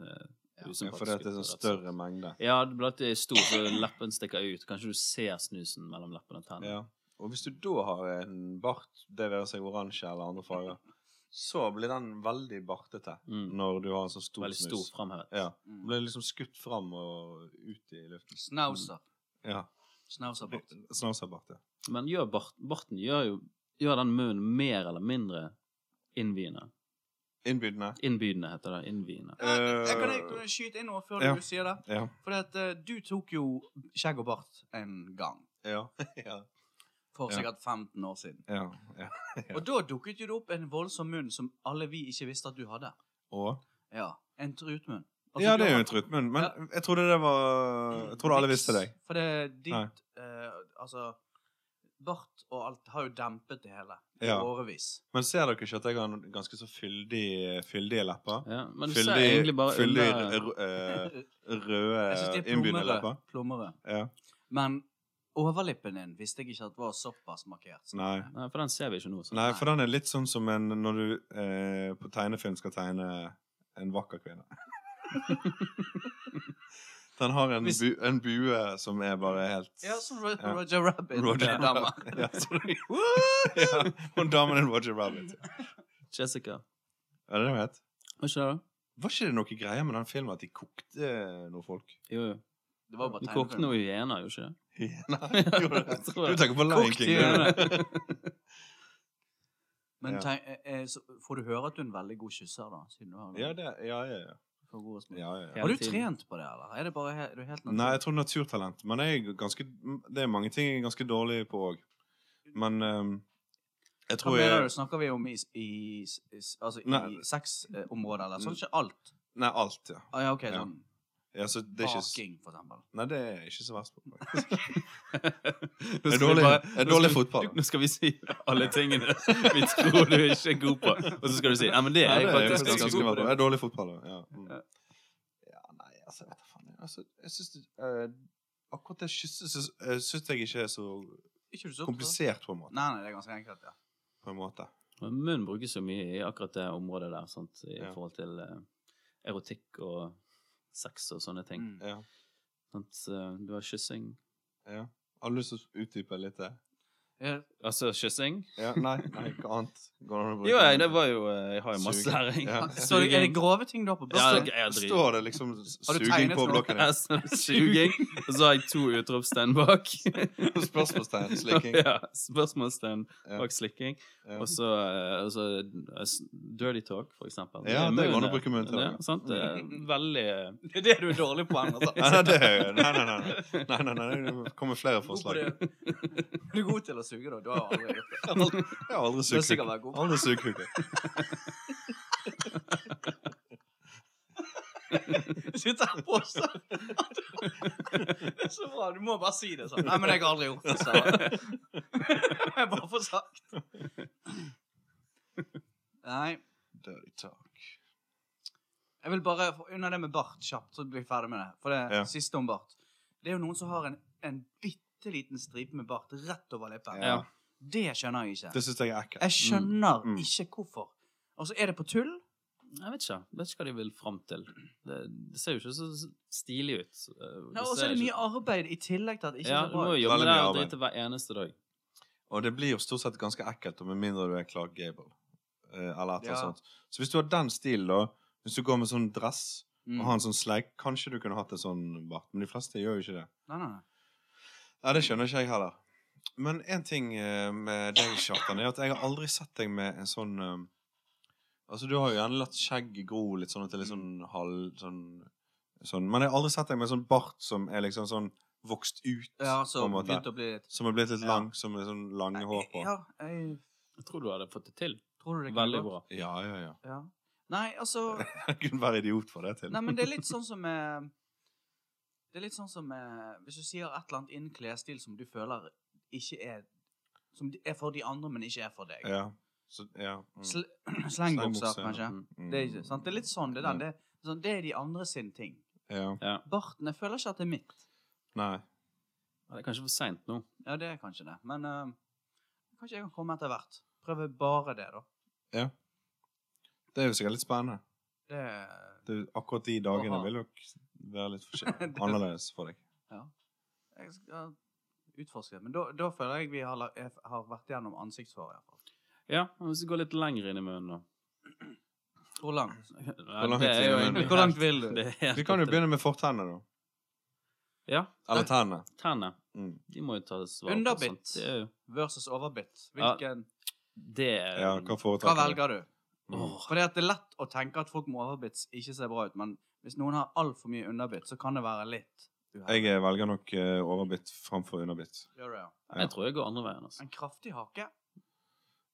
Speaker 2: eh,
Speaker 1: Ja,
Speaker 2: usympatisk
Speaker 1: for det er en
Speaker 2: ut,
Speaker 1: sånn
Speaker 2: rett og slett.
Speaker 1: større mengde.
Speaker 2: Ja, det blir alltid stor, så leppen stikker ut. Kanskje du ser snusen mellom leppene og tennene.
Speaker 1: Ja. Og hvis du da har en bart, det være seg oransje eller andre farger, så blir den veldig bartete
Speaker 2: Mm.
Speaker 1: når du har en sånn stor
Speaker 2: Veldig
Speaker 1: snus.
Speaker 2: stor framhevet.
Speaker 1: Ja. Den
Speaker 3: Mm.
Speaker 1: Blir liksom skutt fram og ut i luften.
Speaker 3: Snauser.
Speaker 1: Ja.
Speaker 3: Snauser bort.
Speaker 1: Snauserbart, ja.
Speaker 2: Men gjør bart, barten gjør jo gjør den munnen mer eller mindre innviende.
Speaker 1: Innbydende.
Speaker 2: Innbydende, heter det. Innviende.
Speaker 1: Eh,
Speaker 3: Jeg kan jeg kan skyte inn noe før
Speaker 1: ja.
Speaker 3: du sier det.
Speaker 1: Ja.
Speaker 3: For at, eh, du tok jo skjegg og bart en gang.
Speaker 1: Ja. ja.
Speaker 3: For
Speaker 1: Ja.
Speaker 3: sikkert 15 år siden.
Speaker 1: ja. ja. Ja.
Speaker 3: Og da dukket jo det opp en voldsom munn som alle vi ikke visste at du hadde.
Speaker 1: Og
Speaker 3: Ja, En trutmunn.
Speaker 2: Altså,
Speaker 3: Altså,
Speaker 1: Ja, det er jo en trutmunn, men jeg trodde det var Eh, Jeg trodde alle visste deg.
Speaker 3: Mm, For det er
Speaker 1: Nei.
Speaker 3: ditt eh, Altså Bart og alt har jo dempet det hele i
Speaker 1: Ja.
Speaker 3: årevis.
Speaker 1: Men ser dere ikke at jeg har en ganske så fyldig, fyldige lepper?
Speaker 2: Ja, men du ser
Speaker 1: Fyldig,
Speaker 2: egentlig bare
Speaker 1: fyldig
Speaker 2: under
Speaker 1: rø- eh,
Speaker 3: Jeg synes
Speaker 1: røde,
Speaker 3: det er
Speaker 1: innbydende
Speaker 3: plommere.
Speaker 1: lepper?
Speaker 3: plommere.
Speaker 1: Ja.
Speaker 3: Men overlippen din visste jeg ikke at var såpass markert. som
Speaker 1: Nei.
Speaker 3: den er.
Speaker 2: Nei, for den ser vi ikke nå. sant?
Speaker 1: Nei, for den er litt sånn som en, når du eh, på tegnefilm skal tegne en vakker kvinne. den har en,
Speaker 3: Hvis-
Speaker 1: bu, en bue som er bare helt
Speaker 3: Ja, som Ro-
Speaker 1: Ja.
Speaker 3: Roger Rabbit.
Speaker 1: Roger
Speaker 3: den dama.
Speaker 1: Rabbit. Ja, sorry. ja, hun damen er Roger Rabbit.
Speaker 2: Jessica.
Speaker 1: Er det det hun het?
Speaker 2: Var ikke det, da?
Speaker 1: Var ikke det noe greier med den filmen at de kokte noen folk?
Speaker 2: Jo, jo.
Speaker 3: Det var jo bare
Speaker 2: Du kokte
Speaker 3: tegnefilm.
Speaker 2: noe hyener, gjorde du
Speaker 1: Nei,
Speaker 2: ikke det?
Speaker 1: gjorde det?
Speaker 2: Jeg tror
Speaker 1: Du
Speaker 2: det.
Speaker 1: tenker på Lion
Speaker 2: Kokt
Speaker 1: King. du.
Speaker 2: hyener.
Speaker 3: Men
Speaker 1: Ja.
Speaker 3: tegn- eh, eh, så får du høre at du er en veldig god kysser, da. Siden du har
Speaker 1: Ja, det, ja, ja, ja.
Speaker 3: for god respons.
Speaker 1: ja, ja, ja.
Speaker 3: Har du
Speaker 2: Hele tiden.
Speaker 3: trent på det, eller? Er det bare he- er du helt
Speaker 2: altså?
Speaker 1: Nei, jeg tror naturtalent. Men jeg er ganske, det er mange ting jeg er ganske dårlig på òg. Men ehm, jeg
Speaker 3: Hva
Speaker 1: tror jeg
Speaker 3: mener du? Snakker vi om i, i, i, altså, i
Speaker 1: Nei. Mm.
Speaker 3: sexområdet, eller? Sånn ikke alt?
Speaker 1: Nei, alt, ja.
Speaker 3: Ah, ja, ok,
Speaker 1: Ja.
Speaker 3: sånn
Speaker 1: ja så det er ikke,
Speaker 3: baking, for eksempel.
Speaker 1: nei, det er jeg ikke så verst på. faktisk.
Speaker 2: Nå
Speaker 1: Jeg er
Speaker 2: skal vi
Speaker 1: dårlig,
Speaker 2: bare-
Speaker 1: jeg er
Speaker 2: nå skal
Speaker 1: dårlig i
Speaker 2: vi-
Speaker 1: fotball.
Speaker 2: Nå skal vi si alle tingene vi tror du ikke er god på, og så skal du si ja, men det er
Speaker 1: Nei,
Speaker 2: jeg
Speaker 1: det er jeg
Speaker 2: faktisk
Speaker 1: faktisk
Speaker 2: ganske
Speaker 1: ganske
Speaker 2: god
Speaker 1: bra
Speaker 2: på.
Speaker 1: på. Jeg er dårlig i fotball. Ja. Mm.
Speaker 2: Ja.
Speaker 1: ja, nei, altså, vet du faen. jeg- Altså, jeg syns det eh, Akkurat det kysset syns- eh, syns jeg ikke er så
Speaker 3: Ikke du så
Speaker 1: komplisert, på en måte.
Speaker 3: Nei, nei, det er ganske enkelt, ja.
Speaker 1: På en måte.
Speaker 2: Men Munnen brukes jo mye i akkurat det området der, sant? i
Speaker 1: Ja.
Speaker 2: forhold til eh, erotikk og sex og sånne ting.
Speaker 3: Mm.
Speaker 1: Ja.
Speaker 2: Sant? Eh, du har kyssing
Speaker 1: ja. Har du lyst til å utdype litt det?
Speaker 3: Eh,
Speaker 2: Altså kyssing?
Speaker 1: Ja, nei, nei, hva annet? Går det an å bruke
Speaker 2: Jo, jeg, det var jo eh, Jeg har jo masse
Speaker 1: Suging.
Speaker 2: her. jeg.
Speaker 1: Ja.
Speaker 3: Ah, Så er det- er det
Speaker 2: Suging.
Speaker 3: grove ting du har på
Speaker 2: Ja,
Speaker 3: børsen?
Speaker 2: jeg er drit.
Speaker 1: Står det liksom
Speaker 3: Har du
Speaker 1: suging
Speaker 3: tegnet
Speaker 1: på
Speaker 3: noe?
Speaker 1: blokken?
Speaker 2: Ja, så Suging. Og så har jeg to utropstegn bak.
Speaker 1: Spørsmålstegn, slikking.
Speaker 2: Ja, spørsmålstegn
Speaker 1: Ja.
Speaker 2: bak slikking.
Speaker 1: Ja.
Speaker 2: Og så eh, og så, eh, s- dirty talk, for eksempel.
Speaker 1: Ja, det Mm. går an å
Speaker 2: munnen-
Speaker 1: bruke munnen til,
Speaker 2: Ja,
Speaker 1: ja.
Speaker 2: sant? Det er Veldig eh,
Speaker 3: Det er det du er dårlig på, Anders. altså.
Speaker 1: Nei, nei, det er, nei, nei, nei, nei, nei, nei, nei, det kommer flere
Speaker 3: God på
Speaker 1: forslag.
Speaker 3: det. Du er god til å suge, da. Du har jo aldri gjort det.
Speaker 1: Jeg har aldri
Speaker 3: Du har
Speaker 1: sugd
Speaker 3: sikkert
Speaker 1: kuken.
Speaker 3: vært god på
Speaker 1: Aldri sugd kuken.
Speaker 3: det. Sitter her på oss. Det er så bra. Du må bare si det sånn. Nei, men jeg har aldri gjort det. Så. Jeg bare får sagt. Nei.
Speaker 1: Dirty talk.
Speaker 3: Jeg vil bare få unna det med bart kjapt, så blir jeg ferdig med det. For det
Speaker 1: Ja.
Speaker 3: siste om bart. Det er jo noen som har en, en bitte liten stripe med bart rett over lippen.
Speaker 1: Ja.
Speaker 3: Det skjønner jeg ikke.
Speaker 1: Det syns jeg er ekkelt.
Speaker 3: Jeg skjønner
Speaker 1: Mm.
Speaker 3: ikke hvorfor. Og så er det på tull.
Speaker 2: Jeg vet ikke. Vet ikke hva de vil fram til. Det, det ser jo ikke så s- stilig ut. Eh,
Speaker 3: Ja, Og så
Speaker 2: ser
Speaker 3: er det
Speaker 2: ikke-
Speaker 3: mye arbeid i tillegg til at det ikke
Speaker 2: Ja,
Speaker 3: er
Speaker 2: du
Speaker 3: så bra.
Speaker 2: må jo
Speaker 3: ut.
Speaker 2: jobbe
Speaker 1: Veldig
Speaker 2: der
Speaker 1: mye
Speaker 2: og
Speaker 1: arbeid.
Speaker 2: drite hver eneste dag.
Speaker 1: Og det blir jo stort sett ganske ekkelt, og med mindre du er Clark Gable. eh, Eller et eller
Speaker 3: Ja.
Speaker 1: annet sånt. Så hvis du har den stilen, da Hvis du går med sånn dress
Speaker 3: Mm.
Speaker 1: og har en sånn sleik, kanskje du kunne hatt en sånn bart. Men de fleste gjør jo ikke det.
Speaker 3: Nei, nei, nei.
Speaker 1: Nei, det skjønner ikke jeg heller. Men én ting eh, med deg, Kjartan, er at jeg har aldri sett deg med en sånn eh, Altså, du har jo gjerne latt skjegget gro litt sånn at det er litt
Speaker 3: Mm.
Speaker 1: sånn halv sånn, sånn Men jeg har aldri sett deg med en sånn bart som er liksom sånn vokst ut,
Speaker 3: Ja, så
Speaker 1: på en måte.
Speaker 3: begynte å bli litt
Speaker 1: Som er blitt litt
Speaker 3: Ja.
Speaker 1: lang, som er sånn lange hår på.
Speaker 3: Ja, jeg
Speaker 2: Jeg tror du hadde fått det til.
Speaker 3: tror du det kan
Speaker 2: Veldig
Speaker 3: gå.
Speaker 2: bra.
Speaker 1: Ja, ja, ja.
Speaker 3: Ja. Nei, altså
Speaker 1: Jeg kunne være idiot for det til.
Speaker 3: Nei, men det er litt sånn som eh, Det er litt sånn som eh, Hvis du sier et eller annet innen klesstil som du føler ikke er Som er for de andre, men ikke er for deg.
Speaker 1: Ja. Så, ja. Mm.
Speaker 3: Sl
Speaker 1: Slengbukser,
Speaker 3: Slengbukser,
Speaker 1: ja.
Speaker 3: kanskje.
Speaker 2: Mm.
Speaker 1: Mm.
Speaker 3: Det er, ikke- sant? det er litt sånn det er. den. Det, er sånn, det er de andre sin ting.
Speaker 1: Ja.
Speaker 2: Ja.
Speaker 3: Barten Jeg føler ikke at det er mitt.
Speaker 1: Nei.
Speaker 2: Ja, Det er kanskje for seint nå.
Speaker 3: Ja, det er kanskje det. Men eh, kanskje jeg kan komme etter hvert. Prøve bare det, da.
Speaker 1: Det er jo sikkert litt spennende.
Speaker 3: Det
Speaker 1: Det er akkurat de dagene
Speaker 3: Aha.
Speaker 1: vil nok være litt forskjell- annerledes for deg.
Speaker 3: Jeg skal utforske det. Men da, da føler jeg vi har, la- jeg har vært gjennom ansiktshår, iallfall.
Speaker 2: Ja, men Hvis du går litt lenger inn i munnen, da.
Speaker 3: Hvor langt?
Speaker 2: Hvor
Speaker 1: langt
Speaker 2: det er jo
Speaker 1: vil du?
Speaker 2: egentlig
Speaker 3: Hvor langt
Speaker 2: helt-
Speaker 3: vil du?
Speaker 2: det er helt
Speaker 1: Vi kan jo
Speaker 2: opp til-
Speaker 1: begynne med fortennene, da.
Speaker 2: Ja.
Speaker 1: Eller tennene.
Speaker 2: Tennene.
Speaker 1: Mm.
Speaker 2: De må jo tas vare på.
Speaker 3: Underbitt.
Speaker 2: sant? Det er jo
Speaker 3: Versus overbitt.
Speaker 2: Ja.
Speaker 3: Hvilken
Speaker 2: Det um, er
Speaker 1: Ja, hva
Speaker 3: Hva
Speaker 1: foretrekker
Speaker 3: velger du?
Speaker 1: Mm.
Speaker 2: Åh,
Speaker 3: Fordi at det er lett å tenke at folk med overbitt ikke ser bra ut, men hvis noen har altfor mye underbitt, så kan det være litt uheldig.
Speaker 1: Jeg eh, velger nok eh, overbitt framfor underbitt.
Speaker 3: Gjør det, ja.
Speaker 2: Jeg tror jeg går andre veien, altså.
Speaker 3: En kraftig hake?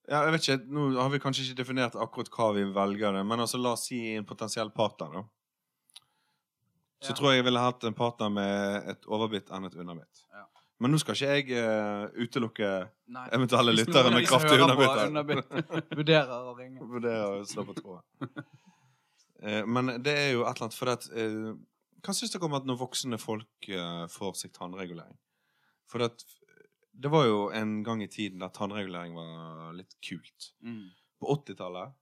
Speaker 1: Ja, jeg vet ikke, Nå har vi kanskje ikke definert akkurat hva vi velger, det, men altså, la oss si en potensiell partner. da. Så
Speaker 3: Ja.
Speaker 1: tror jeg jeg ville hatt en partner med et overbitt enn et underbitt.
Speaker 3: Ja.
Speaker 1: Men nå skal ikke jeg eh, utelukke
Speaker 3: Nei.
Speaker 1: eventuelle
Speaker 3: Hvis
Speaker 1: lyttere
Speaker 3: noen av
Speaker 1: med
Speaker 3: de som
Speaker 1: kraftig
Speaker 3: hører på
Speaker 1: underbitt. her.
Speaker 3: underbitt Vurderer å ringe.
Speaker 1: Vurderer å slå på tråden. Eh, Men det er jo et eller annet for at, eh, Hva syns dere om at når voksne folk eh, får seg tannregulering? For at det var jo en gang i tiden der tannregulering var litt kult.
Speaker 3: Mm.
Speaker 1: På 80-tallet,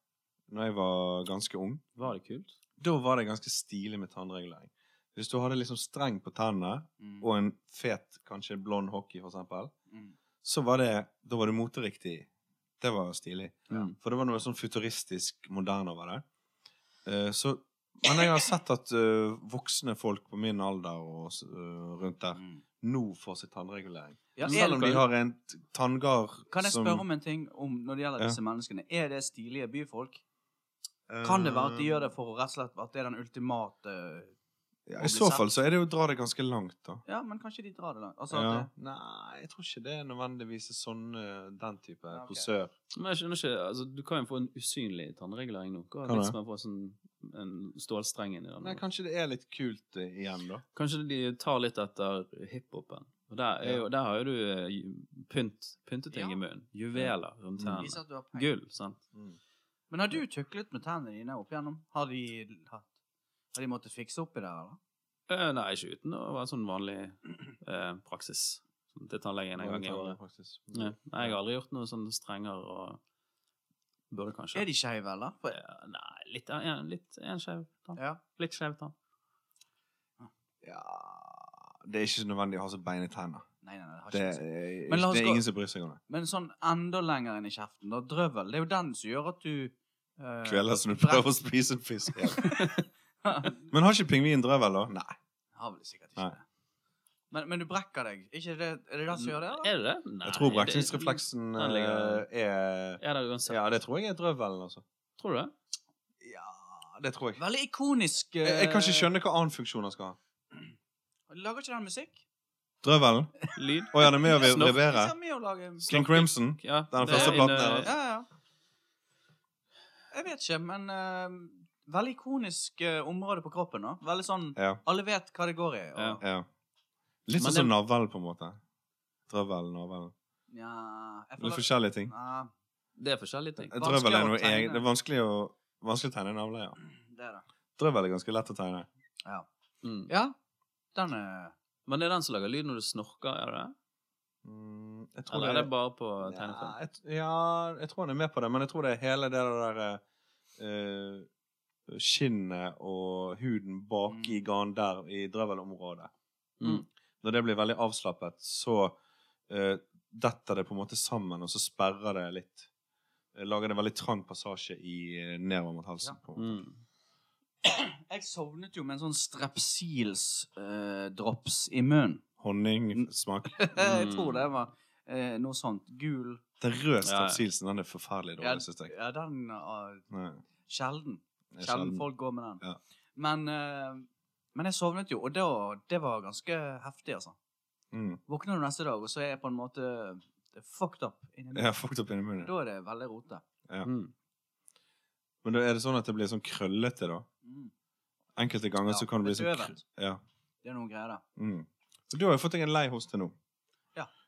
Speaker 1: når jeg var ganske ung,
Speaker 2: Var det kult?
Speaker 1: da var det ganske stilig med tannregulering. Hvis du hadde liksom streng på tennene
Speaker 3: Mm.
Speaker 1: og en fet, kanskje blond hockey, for eksempel,
Speaker 3: Mm.
Speaker 1: så var det Da var det moteriktig. Det var stilig.
Speaker 2: Ja.
Speaker 1: For det var noe sånn futuristisk moderne over det. Eh, så, men jeg har sett at eh, voksne folk på min alder og s- eh, rundt der
Speaker 3: Mm.
Speaker 1: nå får seg tannregulering.
Speaker 3: Ja, er,
Speaker 1: Selv om de har en t- tanngard
Speaker 3: kan jeg
Speaker 1: som
Speaker 3: spørre om en ting om, når det gjelder
Speaker 1: Ja.
Speaker 3: disse menneskene? Er det stilige byfolk?
Speaker 1: eh,
Speaker 3: Kan det være at de gjør det for å rett og slett at det er den ultimate
Speaker 1: ja,
Speaker 3: å
Speaker 1: I
Speaker 3: bli
Speaker 1: så
Speaker 3: sett?
Speaker 1: fall så er det jo å dra det ganske langt, da.
Speaker 3: Ja, men kanskje de drar det langt. Altså,
Speaker 1: Ja.
Speaker 3: at
Speaker 1: Nei, jeg tror ikke det er nødvendigvis sånn eh, den type
Speaker 3: Ja, ok.
Speaker 1: posør.
Speaker 2: Men jeg skjønner ikke, altså, Du kan jo få en usynlig tannregulering nå. Hva er
Speaker 1: Kan det?
Speaker 2: vitsen med å få sånn, en stålstreng inn i den?
Speaker 1: Nei, kanskje det er litt kult eh, igjen, da.
Speaker 2: Kanskje de tar litt etter hiphopen. Og der, er jo, der har jo du eh, ju- pynt, pynteting
Speaker 3: Ja. sånn-
Speaker 2: i munnen. Juveler rundt
Speaker 1: Mm.
Speaker 3: det viser
Speaker 2: tennene.
Speaker 3: at du har penger.
Speaker 2: Gull, sant.
Speaker 3: Men har du tøklet med tennene dine opp igjennom? Har de hatt Har de måttet fikse opp i det, eller?
Speaker 2: Eh, nei, ikke uten å være sånn vanlig eh, praksis. Sånn Til tannlegen en gang i året.
Speaker 1: Faktisk.
Speaker 2: Ja. Nei, jeg har aldri gjort noe sånn strengere og Burde kanskje.
Speaker 3: Er de skeive, eller? For,
Speaker 2: Eh, Nei, litt, en, litt, en skjev tann.
Speaker 3: ja.
Speaker 2: Litt skjev tann.
Speaker 1: Ja Det er ikke så nødvendig å ha så beine tenner.
Speaker 3: Nei, nei, nei, det har
Speaker 1: Det
Speaker 3: ikke
Speaker 1: er,
Speaker 3: noe å si. Ah, Men la oss
Speaker 1: det er
Speaker 3: gå-
Speaker 1: ingen som bryr seg om det.
Speaker 3: Men sånn enda lenger inn i kjeften, da. Drøvel. Det er jo den som gjør at du eh,
Speaker 1: Kvelder som du prøver å spise en fisk. Men har ikke pingvinen drøvel, da? Nei.
Speaker 3: Har vel sikkert ikke
Speaker 1: Nei.
Speaker 3: det. Men, men du brekker deg. Ikke det, er det det som gjør det? Eller?
Speaker 2: Er det det? Nei,
Speaker 1: Jeg tror
Speaker 2: det-
Speaker 1: brekningsrefleksen
Speaker 2: den ligger-
Speaker 1: eh, er
Speaker 2: Er det uansett?
Speaker 1: Ja, det tror jeg er drøvelen, altså.
Speaker 2: Tror du det?
Speaker 1: Ja, det tror jeg.
Speaker 3: Veldig ikonisk.
Speaker 1: Jeg, jeg kan ikke
Speaker 3: eh,
Speaker 1: skjønne hva annen funksjon han skal ha.
Speaker 3: Lager ikke den musikk?
Speaker 1: Drøvelen?
Speaker 2: Lyd?
Speaker 1: Å ja, det er med å
Speaker 2: Snork.
Speaker 1: vibrere?
Speaker 3: Ikke med å lage
Speaker 1: King Crimson?
Speaker 2: Ja,
Speaker 1: Den
Speaker 2: det er
Speaker 1: første
Speaker 2: en,
Speaker 1: platen
Speaker 2: eh,
Speaker 1: her,
Speaker 3: Ja, ja. Jeg vet ikke, men eh, veldig ikonisk eh, område på kroppen. Da. Veldig sånn
Speaker 1: Ja.
Speaker 3: Alle vet hva det går i. Og,
Speaker 1: ja. Litt
Speaker 2: Men
Speaker 1: sånn som navlen, på en måte. Drøvelen, navlen.
Speaker 3: ja. jeg
Speaker 1: Litt
Speaker 3: føler
Speaker 1: forskjellige ting.
Speaker 3: Nei,
Speaker 2: Det er forskjellige ting.
Speaker 3: Vanskelig
Speaker 1: Drøvel er
Speaker 3: å
Speaker 1: noe
Speaker 3: tegne.
Speaker 1: eget. Det er vanskelig å, vanskelig å tegne en navle, ja.
Speaker 3: det er det.
Speaker 1: Drøvel er ganske lett å tegne.
Speaker 2: Mm.
Speaker 3: Ja, den eh, er
Speaker 2: Men det er den som lager lyd når du snorker, er det det?
Speaker 1: Mm, jeg tror
Speaker 2: Eller er
Speaker 1: det
Speaker 2: det bare på
Speaker 1: Ja,
Speaker 2: tegnefilm?
Speaker 1: jeg, t- ja, jeg tror han er med på det, men jeg tror det er hele det der eh, skinnet og huden baki garn der i drøvelområdet.
Speaker 2: Mm.
Speaker 1: Når det blir veldig avslappet, så eh, detter det på en måte sammen, og så sperrer det litt. Eh, Lager det veldig trang passasje i, eh, nedover mot halsen. på en måte.
Speaker 2: Mm.
Speaker 3: Jeg sovnet jo med en sånn strepsils-drops i munnen.
Speaker 1: Honning, smak.
Speaker 3: jeg
Speaker 2: Mm.
Speaker 3: tror det var eh, noe sånt. Gul
Speaker 1: Den røde
Speaker 2: Ja, ja.
Speaker 1: strepsilsen, den er forferdelig
Speaker 3: Ja,
Speaker 1: dårlig, syns jeg.
Speaker 3: ja den er
Speaker 1: Nei,
Speaker 3: sjelden.
Speaker 1: jeg
Speaker 3: Sjelden
Speaker 1: sjelden-
Speaker 3: folk går med den.
Speaker 1: Ja.
Speaker 3: Men, eh, men jeg sovnet jo, og det var, det var ganske heftig, altså.
Speaker 1: Mm.
Speaker 3: Våkner du neste dag, og så er jeg på en måte det er fucked up. Inni meg.
Speaker 1: Jeg har fucked opp inni munnen.
Speaker 3: Da er det veldig rote.
Speaker 2: Mm.
Speaker 1: Men da er det sånn at det blir sånn krøllete, da?
Speaker 3: Mm.
Speaker 1: Enkelte ganger
Speaker 3: Ja,
Speaker 1: så kan det bli
Speaker 3: litt
Speaker 1: sånn
Speaker 3: øvent.
Speaker 1: krø- ja.
Speaker 3: Det er noen greier der.
Speaker 1: Mm. Så du har jo fått deg en lei hoste nå.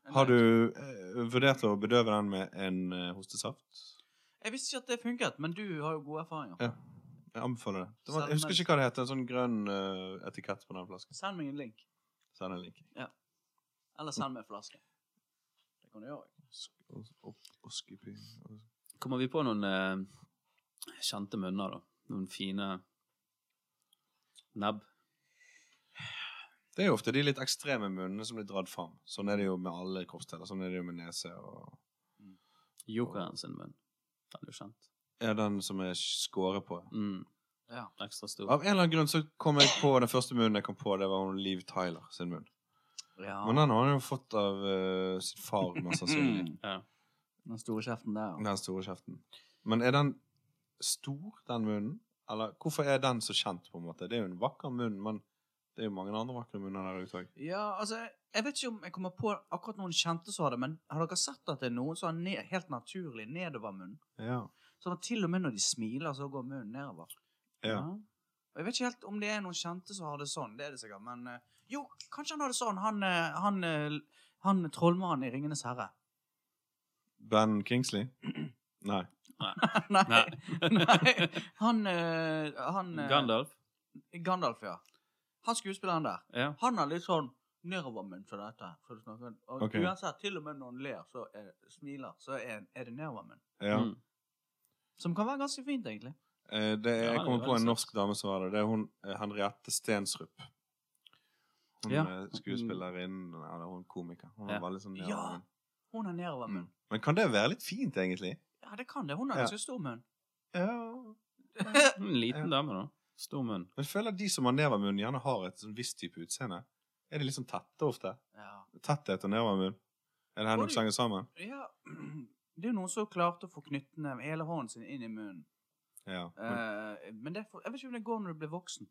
Speaker 3: Men
Speaker 1: Har
Speaker 3: det-
Speaker 1: du eh, vurdert å bedøve den med en eh, hostesaft?
Speaker 3: Jeg visste ikke at det funket, men du har jo gode erfaringer.
Speaker 1: Ja. Jeg anbefaler det. det var,
Speaker 3: Send
Speaker 1: jeg husker
Speaker 3: meg-
Speaker 1: ikke hva det heter. En sånn grønn eh, etikett på den flasken.
Speaker 3: Send meg en link,
Speaker 1: Send en link.
Speaker 3: eller send meg en flaske. Det kan du gjøre.
Speaker 1: Sk- os- op- oskepy.
Speaker 2: Kommer vi på noen eh, kjente munner, da? Noen fine nebb?
Speaker 1: Det er jo ofte de litt ekstreme munnene som blir dratt fram. Sånn er det jo med alle kroppsdeler. Sånn er det jo med nese og
Speaker 2: Jokeren sin munn. Den er jo kjent.
Speaker 1: er den som jeg skårer på.
Speaker 2: Mm.
Speaker 3: Ja.
Speaker 2: Ekstra stor.
Speaker 1: Av en eller annen grunn så kom jeg på den første munnen jeg kom på, det var hun Liv Tyler sin munn.
Speaker 3: ja.
Speaker 1: Men den har han jo fått av eh, sin far, mest sannsynlig.
Speaker 3: Mm.
Speaker 2: Ja.
Speaker 3: Den store
Speaker 2: Mm.
Speaker 3: kjeften der.
Speaker 1: Den store kjeften. Men er den stor, den munnen? Eller hvorfor er den så kjent, på en måte? Det er jo en vakker munn, men det er jo mange andre vakre munner der ute òg.
Speaker 3: Ja, altså, jeg vet ikke om jeg kommer på akkurat noen kjente som har det, men har dere sett at det er noen som har ned, helt naturlig nedover munnen?
Speaker 1: Ja.
Speaker 3: Sånn at til og med når de smiler, så går munnen nedover.
Speaker 1: Ja.
Speaker 3: Og Jeg vet ikke helt om det er noen kjente som har det sånn, det er det sikkert, men eh, jo, kanskje han har det sånn, han, eh, han, eh, han trollmannen i Ringenes Herre.
Speaker 1: Ben Kingsley? Nei.
Speaker 3: Nei,
Speaker 2: Nei.
Speaker 3: nei, han, eh, han eh,
Speaker 2: Gandalf.
Speaker 3: Gandalf, ja. Han skuespilleren der.
Speaker 2: Ja.
Speaker 3: Han har litt sånn nedovermunn for dette. For å snakke. Og
Speaker 1: Ok.
Speaker 3: uansett, til og med når han ler, så er, smiler, så er, er det nedovermunn.
Speaker 1: Ja.
Speaker 2: Mm.
Speaker 3: Som kan være ganske fint, egentlig.
Speaker 1: Eh, Det er,
Speaker 2: Ja,
Speaker 1: jeg kommer
Speaker 2: det er
Speaker 1: på en
Speaker 2: veldig
Speaker 1: norsk dame som var det. Det er hun eh, Henriette Stensrup. Hun
Speaker 2: Ja.
Speaker 1: er skuespillerinnen Eller hun er komiker. Hun
Speaker 2: Ja.
Speaker 1: er veldig sånn
Speaker 3: Ja.
Speaker 1: nedovervendt.
Speaker 3: Hun har
Speaker 1: Mm.
Speaker 3: nedovermunn.
Speaker 1: Men kan det være litt fint, egentlig?
Speaker 3: Ja, det kan det. Hun har
Speaker 1: Mm. Ja.
Speaker 3: ganske stor munn.
Speaker 1: Ja.
Speaker 2: En liten dame, da. Stor munn.
Speaker 1: Men jeg føler at de som har nevermunn, gjerne har et sånn visst type utseende. Er de litt sånn tette ofte?
Speaker 3: Ja.
Speaker 1: Tetthet og nevermunn? Er det her
Speaker 3: Oi.
Speaker 1: noe slenger sammen?
Speaker 3: ja. Det er jo noen som klarte å få knyttene med hele hånden sin inn i munnen.
Speaker 1: Ja. Men,
Speaker 3: Eh, men det, er for- jeg vet ikke om det går når du blir voksen.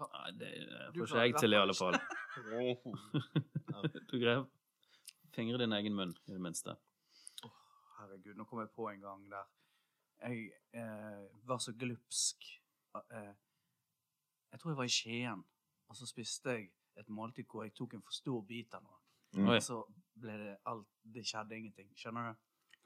Speaker 2: Nei, det eh,
Speaker 3: Du
Speaker 2: får
Speaker 3: klarer
Speaker 2: ikke jeg til, i
Speaker 3: i
Speaker 2: alle
Speaker 3: hvert fall
Speaker 2: fall. Du greier fingre din egen munn, i det minste.
Speaker 3: Herregud, nå kom jeg på en gang der jeg eh, var så glupsk. Eh, jeg tror jeg var i Skien, og så spiste jeg et måltid hvor jeg tok en for stor bit av noe.
Speaker 1: Mm.
Speaker 2: Oi.
Speaker 3: Og så ble det alt Det skjedde ingenting. Skjønner du?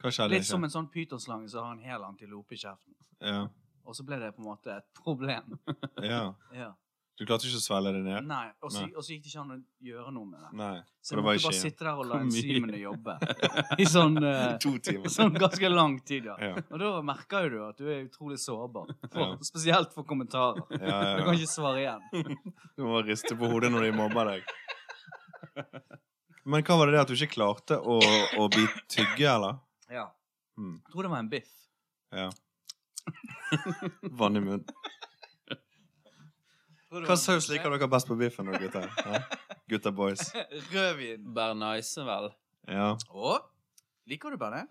Speaker 1: hva skjedde?
Speaker 3: Litt
Speaker 1: ikke?
Speaker 3: som en sånn pytonslange som har en hel antilope i kjeften.
Speaker 1: ja.
Speaker 3: Og så ble det på en måte et problem.
Speaker 1: ja.
Speaker 3: Ja.
Speaker 1: Du klarte ikke å svelge det ned?
Speaker 3: Nei, og så,
Speaker 1: Nei.
Speaker 3: og så gikk det ikke an å gjøre noe med det.
Speaker 1: Nei. for det
Speaker 3: Så jeg
Speaker 1: var i
Speaker 3: måtte bare
Speaker 1: Skien.
Speaker 3: sitte der og la
Speaker 2: Hvor mye?
Speaker 3: enzymene jobbe. I sånn, eh,
Speaker 1: To timer.
Speaker 3: sånn ganske lang tid, ja.
Speaker 1: Ja.
Speaker 3: Og da merker jo du at du er utrolig sårbar. For,
Speaker 1: Ja.
Speaker 3: Spesielt for kommentarer.
Speaker 1: Ja, ja,
Speaker 3: Du
Speaker 1: ja.
Speaker 3: kan ikke svare igjen.
Speaker 1: Du må bare riste på hodet når de mobber deg. Men hva var det det at du ikke klarte å, å bli tygge, eller?
Speaker 3: Ja.
Speaker 1: Mm.
Speaker 3: Jeg tror det var en biff.
Speaker 1: Ja. Vann i munnen. Hva saus liker dere best på biffen nå, gutter? Ja? Gutta boys.
Speaker 3: Eh, Rødvin.
Speaker 2: Bernice, vel.
Speaker 1: Ja.
Speaker 3: Å? Liker du bare det?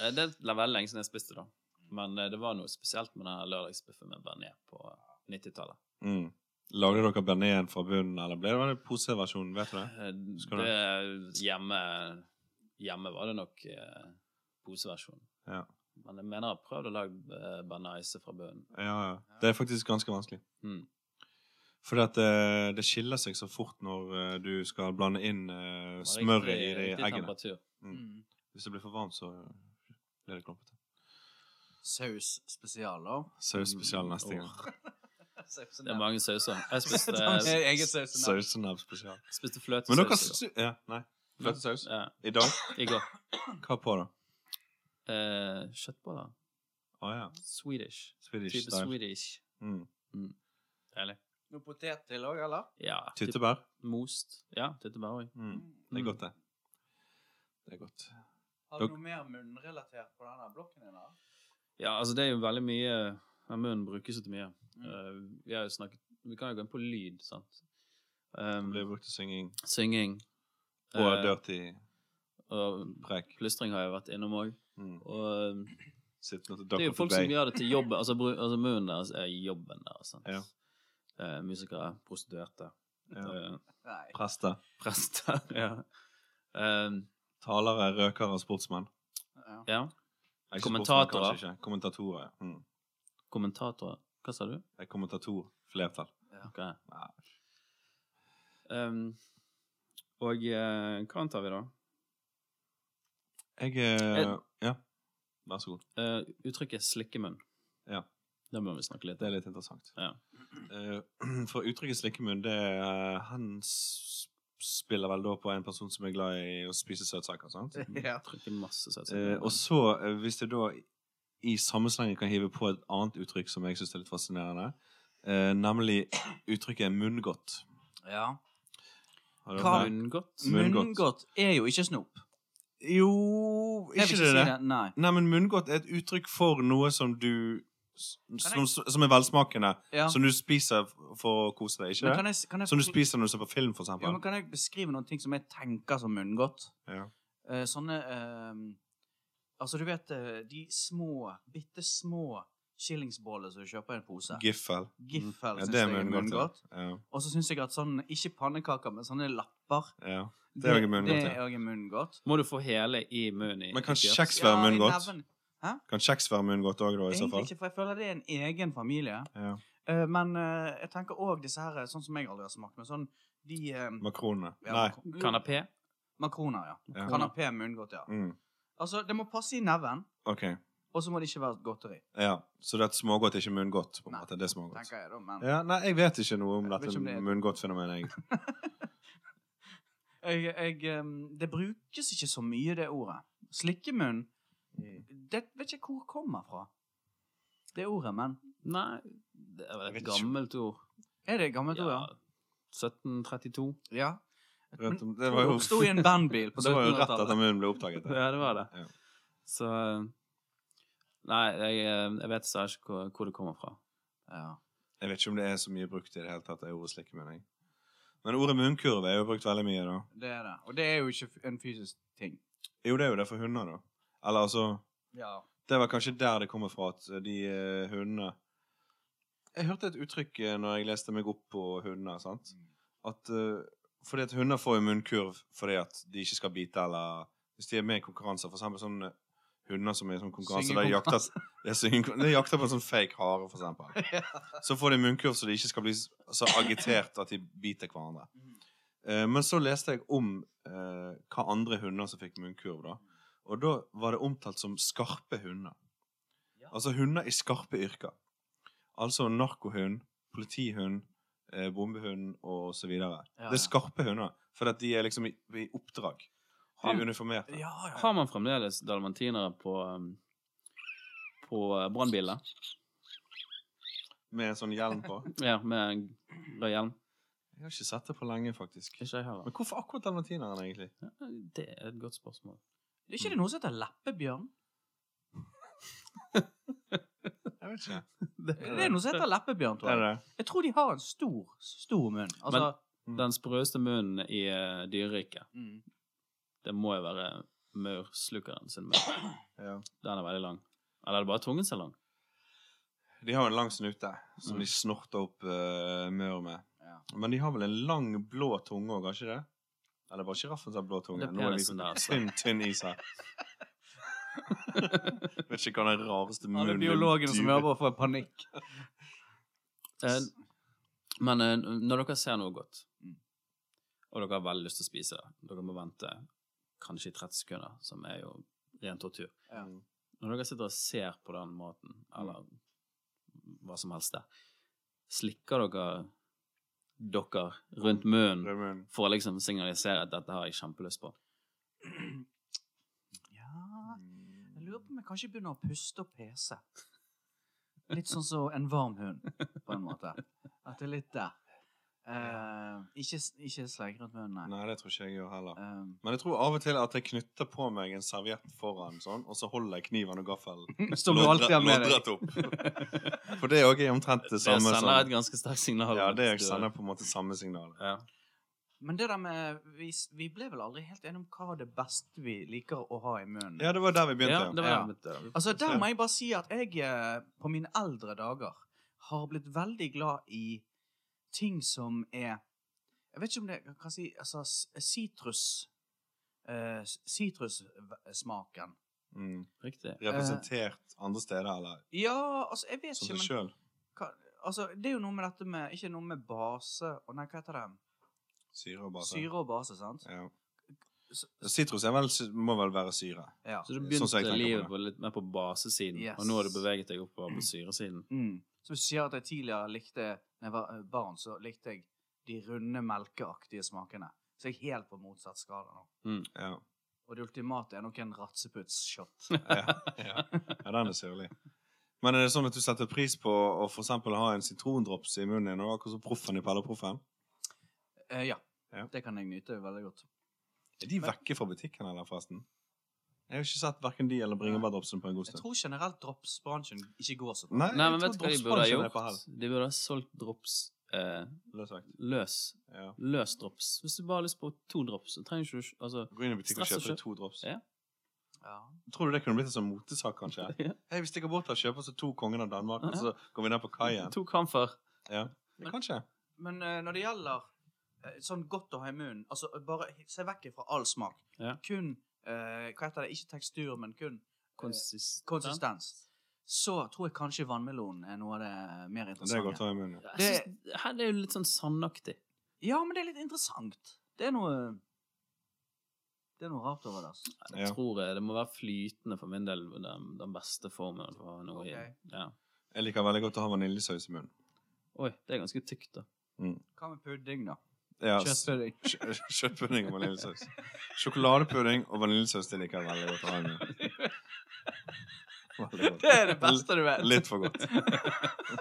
Speaker 2: Eh, Det er veldig lenge siden jeg spiste, da. Men eh, det var noe spesielt med den lørdagsbiffen med bearnés på eh, 90-tallet.
Speaker 1: Mm. Lagde dere bearnésen fra bunnen, eller ble det den poseversjonen? Vet du det?
Speaker 2: Eh,
Speaker 1: Skal du-
Speaker 2: Det hjemme Hjemme var det nok eh, poseversjonen.
Speaker 1: Ja.
Speaker 2: Men jeg mener jeg har prøvd å lage eh, bearnés fra bunnen.
Speaker 1: Ja, ja. Det er faktisk ganske vanskelig.
Speaker 2: Mm.
Speaker 1: Fordi at eh, det, det skiller seg så fort når eh, du skal blande inn eh, smøret i de
Speaker 2: Riktig
Speaker 1: eggene.
Speaker 2: temperatur.
Speaker 3: Mm.
Speaker 1: Hvis det blir for varmt, så blir det klumpete.
Speaker 3: Saus spesial, da.
Speaker 1: Saus spesial neste gang.
Speaker 2: Mm, Åh, Det er mange sauser. Jeg spiste,
Speaker 3: Ta med
Speaker 1: eh,
Speaker 3: egen saus.
Speaker 1: Sausenebb spesial.
Speaker 2: spiste
Speaker 1: Men dere
Speaker 2: fløtesaus i går.
Speaker 1: sy- Ja, nei. Fløtesaus?
Speaker 2: Ja,
Speaker 1: I dag?
Speaker 2: I går.
Speaker 1: Hva på, da?
Speaker 2: Eh, Kjøttboller.
Speaker 1: Å ja.
Speaker 2: Swedish.
Speaker 1: Swedish
Speaker 2: Type
Speaker 1: style.
Speaker 2: Swedish.
Speaker 1: Mm.
Speaker 2: Deilig.
Speaker 3: Noe potet til òg, eller?
Speaker 2: Ja. typ
Speaker 1: Tyttebær?
Speaker 2: Most. Ja, tyttebær òg.
Speaker 1: Mm. Det er godt, det. Det er godt.
Speaker 3: Har du noe mer munnrelatert på denne blokken din? da?
Speaker 2: Ja, altså det er jo veldig mye ja, Munnen brukes jo til mye. Eh, vi har jo snakket Vi kan jo gå inn på lyd, sant.
Speaker 1: Det
Speaker 2: Um,
Speaker 1: blir brukt til synging
Speaker 2: synging.
Speaker 1: og
Speaker 2: eh,
Speaker 1: dirty
Speaker 2: og
Speaker 1: prek.
Speaker 2: plystring har jeg vært innom òg.
Speaker 1: Mm.
Speaker 2: Og eh,
Speaker 1: Sittende til
Speaker 2: det er jo
Speaker 1: Duck
Speaker 2: folk
Speaker 1: of
Speaker 2: som
Speaker 1: Bay.
Speaker 2: gjør det til jobben. Altså, bru- altså munnen deres er jobben deres. Sant?
Speaker 1: Ja.
Speaker 2: Eh, musikere, prostituerte,
Speaker 1: Ja.
Speaker 2: eh,
Speaker 3: Nei.
Speaker 1: Prester.
Speaker 2: prester. ja. Um,
Speaker 1: Talere, røkere, sportsmenn.
Speaker 3: Ja.
Speaker 2: ja.
Speaker 1: Nei, ikke
Speaker 2: Kommentatorer.
Speaker 1: sportsmenn, kanskje ikke. Kommentatorer. ja. Mm.
Speaker 2: Kommentatorer. Hva sa du?
Speaker 1: Det er kommentator. Flertall.
Speaker 2: Ok. Um, og eh, hva antar vi, da?
Speaker 1: Jeg eh,
Speaker 2: Jeg-
Speaker 1: Ja, vær så god.
Speaker 2: Eh, uttrykket 'slikkemunn'.
Speaker 1: Ja.
Speaker 2: Det må vi snakke litt
Speaker 1: Det
Speaker 2: om.
Speaker 1: er litt interessant.
Speaker 2: Ja.
Speaker 1: Eh, for uttrykket 'slikkemunn' det er, eh, Han s- spiller vel da på en person som er glad i å spise søtsaker, sant?
Speaker 3: ja.
Speaker 2: Trykker masse søtt.
Speaker 1: Eh, og så, eh, hvis jeg da i samme slengen kan hive på et annet uttrykk som jeg syns er litt fascinerende, eh, nemlig uttrykket 'munngodt'.
Speaker 3: ja.
Speaker 1: Har du
Speaker 3: Hva-
Speaker 1: hørt det?
Speaker 2: Munngodt.
Speaker 1: Munngodt.
Speaker 3: Munngodt er jo ikke snop.
Speaker 1: Jo
Speaker 3: Jeg vil
Speaker 1: Ikke det det?
Speaker 3: Nei.
Speaker 1: Nei, men munngodt er et uttrykk for noe som du s-
Speaker 3: Kan
Speaker 1: Som, som er velsmakende.
Speaker 3: Ja.
Speaker 1: Som du spiser f- for å kose deg,
Speaker 3: Men
Speaker 1: ikke det?
Speaker 3: kan jeg, kan jeg,
Speaker 1: Som du spiser når du ser på film, for
Speaker 3: Jo,
Speaker 1: eksempel.
Speaker 3: men kan jeg beskrive noen ting som jeg tenker som munngodt?
Speaker 1: Ja.
Speaker 3: Eh, sånne eh, Altså, du vet eh, de små, bitte små skillingsboller som du kjøper i en pose.
Speaker 1: Giffel.
Speaker 3: Giffel
Speaker 1: Mm. Ja,
Speaker 3: syns
Speaker 1: det er
Speaker 3: jeg er munngodt.
Speaker 1: munngodt. Ja.
Speaker 3: Og så syns jeg at sånn, ikke pannekaker, men sånne lapper
Speaker 1: Ja. Det er jo ikke munngodt,
Speaker 3: Det
Speaker 1: ja.
Speaker 3: er også munngodt.
Speaker 2: Må du få hele i munnen i
Speaker 1: Men kan
Speaker 2: i fjøs?
Speaker 1: kjeks være
Speaker 3: i
Speaker 1: munngodt?
Speaker 3: neven.
Speaker 1: Kan kjeks være munngodt òg, da, i så
Speaker 3: Egentlig
Speaker 1: fall?
Speaker 3: ikke, for jeg føler det er en egen familie.
Speaker 1: Ja.
Speaker 3: Eh, men eh, jeg tenker òg disse her, sånn som jeg aldri har smakt, men sånn de eh,
Speaker 1: Makronene.
Speaker 3: ja,
Speaker 1: Nei.
Speaker 3: makro-
Speaker 2: Kanapé?
Speaker 3: Makroner, ja.
Speaker 1: Ja.
Speaker 3: Kanapé munngodt, ja.
Speaker 1: Mm.
Speaker 3: Altså, det må passe i neven,
Speaker 1: OK.
Speaker 3: og så må det ikke være godteri,
Speaker 1: Ja. Så det er et smågodt, ikke munngodt? på en
Speaker 3: Nei,
Speaker 1: måte. Det er smågodt.
Speaker 3: tenker jeg da, men
Speaker 1: Ja, nei, jeg vet ikke noe om
Speaker 3: Jeg vet
Speaker 1: dette
Speaker 3: ikke om det er-
Speaker 1: munngodtfenomenet, jeg.
Speaker 3: jeg, jeg, eh, Det brukes ikke så mye, det ordet. Slikkemunn
Speaker 1: Mm.
Speaker 3: Det vet ikke hvor det kommer fra. Det ordet, men
Speaker 2: Nei, det er vel
Speaker 1: Jeg
Speaker 2: et
Speaker 1: vet ikke.
Speaker 2: gammelt ord.
Speaker 3: Er det et gammelt ord, ja?
Speaker 2: Ja, 1732.
Speaker 3: Ja.
Speaker 1: Rett-
Speaker 3: Men-
Speaker 1: Det var jo,
Speaker 3: Sto i en bandbil på
Speaker 1: det var jo rett
Speaker 3: 1700-tallet.
Speaker 1: etter munnen ble oppdaget. det.
Speaker 2: Ja, det var det.
Speaker 1: Ja.
Speaker 2: Så Nei, jeg, eh, jeg vet snart ikke hvor, hvor det kommer fra.
Speaker 3: Ja.
Speaker 1: Jeg vet ikke om det er så mye brukt i det hele tatt, det ordet slikkemunn. jeg. Men ordet munnkurv er jo brukt veldig mye, da.
Speaker 3: Det er det. Og det er jo ikke f- en fysisk ting.
Speaker 1: Jo, det er jo det for hunder, da. Eller altså
Speaker 3: Ja.
Speaker 1: Det var kanskje der det kommer fra, at de eh, hundene Jeg hørte et uttrykk eh, når jeg leste meg opp på hunder, sant? At eh, Fordi at hunder får jo munnkurv fordi at de ikke skal bite, eller Hvis de er med i konkurranser, for eksempel sånne hunder som er i sånn konkurranse der de jakter, de synger- de jakter på en sånn fake hare, for eksempel.
Speaker 3: Ja.
Speaker 1: Så får de munnkurv så de ikke skal bli s- så agitert at de biter hverandre. Eh, Men så leste jeg om eh, hva andre hunder som fikk munnkurv, da. Og da var det omtalt som skarpe hunder. Altså hunder i skarpe yrker. Altså narkohund, politihund, eh, bombehund og så videre.
Speaker 3: Ja,
Speaker 1: Det er
Speaker 3: ja.
Speaker 1: skarpe hunder, for at de er liksom i, i oppdrag. De
Speaker 2: Han-
Speaker 1: er uniformerte.
Speaker 3: Ja, ja.
Speaker 2: Har man fremdeles dalmatinere på um, På eh, brannbiler?
Speaker 1: Med en sånn hjelm på.
Speaker 2: Ja, med en rød hjelm?
Speaker 1: Jeg har ikke sett det på lenge, faktisk.
Speaker 2: Ikke jeg heller.
Speaker 1: Men hvorfor akkurat dalmatineren, egentlig?
Speaker 2: Det er et godt spørsmål.
Speaker 3: Er ikke det noe som heter leppebjørn?
Speaker 1: Jeg vet ikke.
Speaker 3: Det er noe som heter leppebjørn, tror
Speaker 1: Er
Speaker 3: jeg.
Speaker 1: det?
Speaker 3: Jeg tror de har en stor, stor munn. Altså,
Speaker 2: Den sprøeste munnen i eh, dyreriket,
Speaker 3: mm.
Speaker 2: det må jo være maurslukeren sin munn.
Speaker 1: Ja.
Speaker 2: Den er veldig lang. Eller er det bare tungen som er lang?
Speaker 1: De har en lang snute som
Speaker 2: Mm.
Speaker 1: de snorter opp uh, maur med.
Speaker 3: Ja.
Speaker 1: Men de har vel en lang, blå tunge òg, har ikke det? Eller bare sjiraffen som har blå tunge?
Speaker 2: Det er
Speaker 1: Nå er vi
Speaker 2: penisen der, altså.
Speaker 1: tynn, tynn is her. Vet ikke hva den rareste
Speaker 3: Alle
Speaker 1: munnen
Speaker 3: biologene som
Speaker 1: dyret-
Speaker 3: jobber, får panikk.
Speaker 2: Eh, Men eh, når dere ser noe godt,
Speaker 3: Mm.
Speaker 2: og dere har veldig lyst til å spise det, dere må vente kanskje i 30 sekunder, som er jo ren tortur.
Speaker 3: Ja.
Speaker 1: Mm,
Speaker 2: Når dere sitter og ser på den maten, eller hva som helst det, slikker dere dere rundt munnen
Speaker 1: Rød munn.
Speaker 2: for å liksom signalisere at dette har jeg kjempelyst på?
Speaker 3: Ja Jeg lurer på om jeg kanskje begynner å puste og pese. Litt sånn som en varm hund, på en måte. At det er litt der. Eh, ikke ikke slegg rundt munnen, nei.
Speaker 1: Mm. Nei, det tror ikke jeg gjør heller.
Speaker 3: Eh,
Speaker 1: Men jeg tror av og til at jeg knytter på meg en serviett foran sånn, og så holder jeg kniven og gaffelen
Speaker 3: Som du alltid har med deg.
Speaker 1: loddrett opp. For det òg er omtrent det
Speaker 2: Det
Speaker 1: samme
Speaker 2: sender et
Speaker 1: som
Speaker 2: ganske sterkt signal.
Speaker 1: Ja,
Speaker 2: at
Speaker 1: det
Speaker 2: du-
Speaker 1: sender på en måte samme signal.
Speaker 2: Ja.
Speaker 3: Men det der med vi, s- vi ble vel aldri helt enige om hva det beste vi liker å ha i munnen.
Speaker 1: Ja, det var der vi
Speaker 2: ja,
Speaker 1: begynte.
Speaker 2: det var
Speaker 3: Ja.
Speaker 2: mitt eh,
Speaker 3: Altså, der må jeg bare si at jeg eh, på mine eldre dager har blitt veldig glad i ting som er Jeg vet ikke om det jeg kan si altså, s- sitrus. eh, s- Sitrussmaken.
Speaker 1: Mm.
Speaker 2: Riktig.
Speaker 1: Representert andre steder, eller
Speaker 3: ja, altså, jeg vet
Speaker 1: som
Speaker 3: ikke,
Speaker 1: seg
Speaker 3: men
Speaker 1: sjøl.
Speaker 3: hva, altså, Det er jo noe med dette med Ikke noe med base og Nei, hva heter det?
Speaker 1: Syre og base.
Speaker 3: Syre og base, sant?
Speaker 1: Ja.
Speaker 3: S-
Speaker 1: Sitrus er vel, må vel være syre.
Speaker 3: Ja.
Speaker 2: Så du
Speaker 1: Sånn
Speaker 2: begynte
Speaker 1: som jeg tenker på
Speaker 2: livet
Speaker 1: det.
Speaker 2: på litt mer på basesiden,
Speaker 3: Yes.
Speaker 2: og nå har du beveget deg oppover på syresiden.
Speaker 3: Mm. Så hvis du sier at jeg tidligere likte Når jeg var eh, barn, så likte jeg de runde, melkeaktige smakene. Så jeg er helt på motsatt skala nå.
Speaker 1: Ja.
Speaker 3: Og det ultimate er nok en ratseputs-shot.
Speaker 1: Ja. ja, Ja, den er syrlig. Men er det sånn at du setter pris på å for eksempel ha en sitrondrops i munnen din, og akkurat som proffen i Pelleproffen?
Speaker 3: Eh, ja.
Speaker 1: Ja.
Speaker 3: Det kan jeg nyte veldig godt.
Speaker 1: Er de
Speaker 3: Men-
Speaker 1: vekke fra butikken, eller forresten? Jeg har ikke sett verken de eller bringebærdropsene på en god
Speaker 3: Jeg
Speaker 1: stund.
Speaker 3: tror generelt dropsbransjen ikke går så bra.
Speaker 1: Nei,
Speaker 2: Nei,
Speaker 1: jeg
Speaker 2: men
Speaker 1: tror
Speaker 2: vet du hva de burde ha
Speaker 1: dropsbransjen er på
Speaker 2: gjort? De burde ha solgt drops eh,
Speaker 1: hell, løs sagt.
Speaker 2: løs.
Speaker 1: Ja.
Speaker 2: Løs drops. Hvis du bare har lyst på to drops, så trenger du ikke altså,
Speaker 1: Gå inn i butikken og
Speaker 2: Stress å
Speaker 1: kjøpe
Speaker 2: kjøpe.
Speaker 1: to drops.
Speaker 2: Ja.
Speaker 3: Ja.
Speaker 1: Tror du det kunne blitt en sånn motesak, kanskje?
Speaker 2: ja.
Speaker 1: Hei, vi stikker bort og kjøper oss to Kongen av Danmark, og så går vi ned på kaien.
Speaker 2: To
Speaker 3: Eh,
Speaker 2: kamfer.
Speaker 1: Ja. Kanskje.
Speaker 3: Men eh, når det gjelder eh, sånn godt å ha i munnen Altså eh, bare he- se vekk fra all smak.
Speaker 2: Ja.
Speaker 3: Kun eh, Hva heter det? Ikke tekstur, men kun eh,
Speaker 2: Konsist.
Speaker 3: konsistens. Så tror jeg kanskje vannmelonen er noe av det eh, mer
Speaker 1: Det er godt
Speaker 3: interessante.
Speaker 1: å ha i munnen. ja.
Speaker 2: Jeg synes, her, det er jo litt sånn sandaktig.
Speaker 3: ja, men det er litt interessant. Det er noe Det er noe rart over det. Altså.
Speaker 2: Jeg
Speaker 1: Ja.
Speaker 2: tror det, det må være flytende for min del, den, den beste formen for å ha noe
Speaker 3: Ok.
Speaker 2: i. Ja.
Speaker 1: Jeg liker veldig godt å ha vaniljesaus i munnen.
Speaker 2: Oi, det er ganske tykt, da.
Speaker 3: Hva med pudding, da?
Speaker 1: Ja, s-
Speaker 3: Kjøttpudding.
Speaker 1: kjø- Kjøttpudding og vaniljesaus. Sjokoladepudding og vaniljesaus det liker jeg veldig godt å ha i munnen. Veldig godt.
Speaker 3: Det er det beste du vet.
Speaker 1: Litt for godt.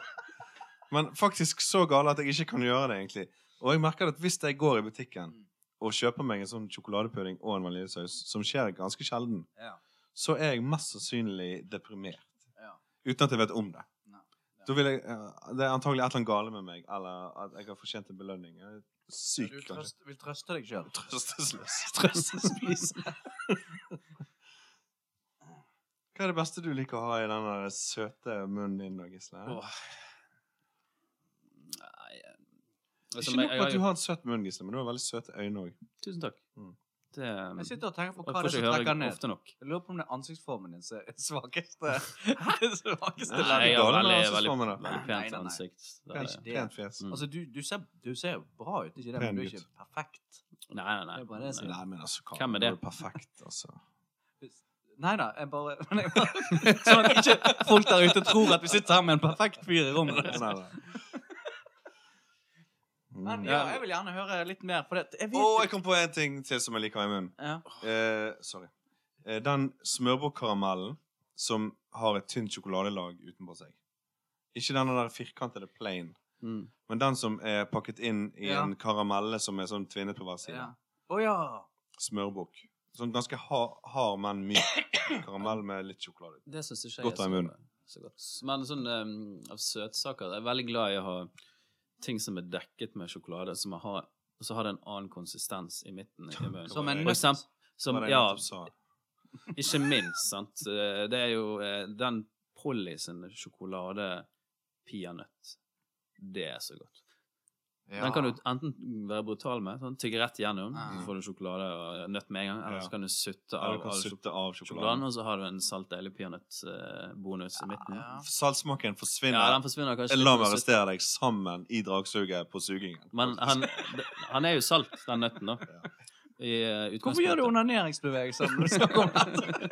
Speaker 1: Men faktisk så gale at jeg ikke kan gjøre det, egentlig. Og jeg merker at hvis jeg går i butikken og kjøper meg en sånn sjokoladepudding og en vaniljesaus, som skjer ganske sjelden,
Speaker 3: Ja.
Speaker 1: så er jeg mest sannsynlig deprimert.
Speaker 3: Ja.
Speaker 1: Uten at jeg vet om det.
Speaker 3: Nei.
Speaker 1: Da vil jeg, eh, det er antagelig et eller annet gale med meg, eller at jeg har fortjent en belønning. Jeg er syk,
Speaker 3: Du
Speaker 1: kanskje.
Speaker 3: trøst, vil trøste deg sjøl.
Speaker 1: Trøstesløs.
Speaker 2: Trøstespis.
Speaker 1: Hva er det beste du liker å ha i den der søte munnen din, da, Gisle?
Speaker 2: Åh. Nei eh, altså, men jeg-
Speaker 1: Ikke nok med at
Speaker 2: jeg-
Speaker 1: du har en søt munn, Gisle, men du har veldig søte øyne òg.
Speaker 2: Tusen takk.
Speaker 1: Mm.
Speaker 2: Det eh,
Speaker 3: Jeg
Speaker 2: jeg
Speaker 3: sitter og tenker på hva
Speaker 2: får
Speaker 3: det er
Speaker 2: ikke
Speaker 3: som
Speaker 2: høre
Speaker 3: trekker den
Speaker 2: det
Speaker 3: ned.
Speaker 2: ofte nok.
Speaker 3: Jeg lurer på om det er ansiktsformen din som er det svakeste. det svakeste
Speaker 2: Jeg
Speaker 1: Nei,
Speaker 3: leddet.
Speaker 1: ja.
Speaker 2: har
Speaker 1: gale med
Speaker 2: veldig,
Speaker 1: ansiktsformen,
Speaker 2: veldig,
Speaker 1: da.
Speaker 2: veldig
Speaker 3: Nei, nei,
Speaker 2: pent
Speaker 3: nei.
Speaker 2: ansikt. Det er
Speaker 1: Pent
Speaker 2: det.
Speaker 3: det.
Speaker 1: pent fjes.
Speaker 2: Mm.
Speaker 3: Altså, du, du, ser, du ser jo bra ut, ikke det,
Speaker 1: Pen
Speaker 3: men du er
Speaker 1: gutt.
Speaker 3: ikke perfekt.
Speaker 2: Nei, nei, nei.
Speaker 3: Det er bare det som-
Speaker 2: Nei.
Speaker 1: Nei, men altså, Karl,
Speaker 2: Hvem er
Speaker 1: nå
Speaker 2: det?
Speaker 1: du perfekt, altså.
Speaker 3: Nei da, jeg bare Sånn at ikke folk der ute tror at vi sitter her med en perfekt fyr i rommet.
Speaker 1: Nei, nei.
Speaker 3: Men
Speaker 1: Sånn Mm.
Speaker 3: ja, jeg vil gjerne høre litt mer, for det jeg
Speaker 1: Å,
Speaker 3: vet jo-
Speaker 1: jeg kom på en ting til som jeg liker i munnen.
Speaker 3: ja.
Speaker 1: Eh, sorry. Eh, den smørbrødkaramellen som har et tynt sjokoladelag utenpå seg. Ikke den der firkantede plain,
Speaker 2: Mm.
Speaker 1: men den som er pakket inn i
Speaker 3: Ja.
Speaker 1: en karamelle som er sånn tvinnet på hver side.
Speaker 3: ja. Å ja.
Speaker 1: Smørbukk. Sånn ganske hard, hard men myk karamell med litt sjokolade.
Speaker 2: Det syns ikke jeg
Speaker 1: Godt å ha i
Speaker 2: er
Speaker 1: munnen.
Speaker 2: så, så godt. Men sånn eh, av søtsaker Jeg er veldig glad i å ha ting som er dekket med sjokolade, som jeg har, og så har det en annen konsistens i midten. i munnen.
Speaker 3: Som en
Speaker 2: For
Speaker 3: nøtt.
Speaker 2: eksempel-
Speaker 1: Det
Speaker 2: Som,
Speaker 1: var det jeg
Speaker 2: ja,
Speaker 1: nettopp sa.
Speaker 2: ikke minst, sant. Eh, Det er jo eh, den Polly sin sjokolade peanøtt. Det er så godt. Den kan du enten være brutal med, sånn tygge rett igjennom,
Speaker 3: Mm.
Speaker 2: så får du sjokolade og nøtt med en gang, eller
Speaker 1: Ja.
Speaker 2: så kan du sutte
Speaker 1: Ja,
Speaker 2: av
Speaker 1: du kan
Speaker 2: all
Speaker 1: sutte av
Speaker 2: sjokoladen,
Speaker 1: sjokoladen.
Speaker 2: og så har du en salt deilig peanøttbonus i midten.
Speaker 3: Ja.
Speaker 1: Saltsmaken
Speaker 2: Ja,
Speaker 1: forsvinner. Eh,
Speaker 2: den forsvinner kanskje.
Speaker 1: La
Speaker 2: litt
Speaker 1: meg
Speaker 2: med sutt,
Speaker 1: arrestere deg sammen i dragsuget på sugingen.
Speaker 2: Men han, han er jo salt, den nøtten, da. I eh, utgangspunktet.
Speaker 3: Hvorfor gjør du onaneringsbevegelser når du snakker om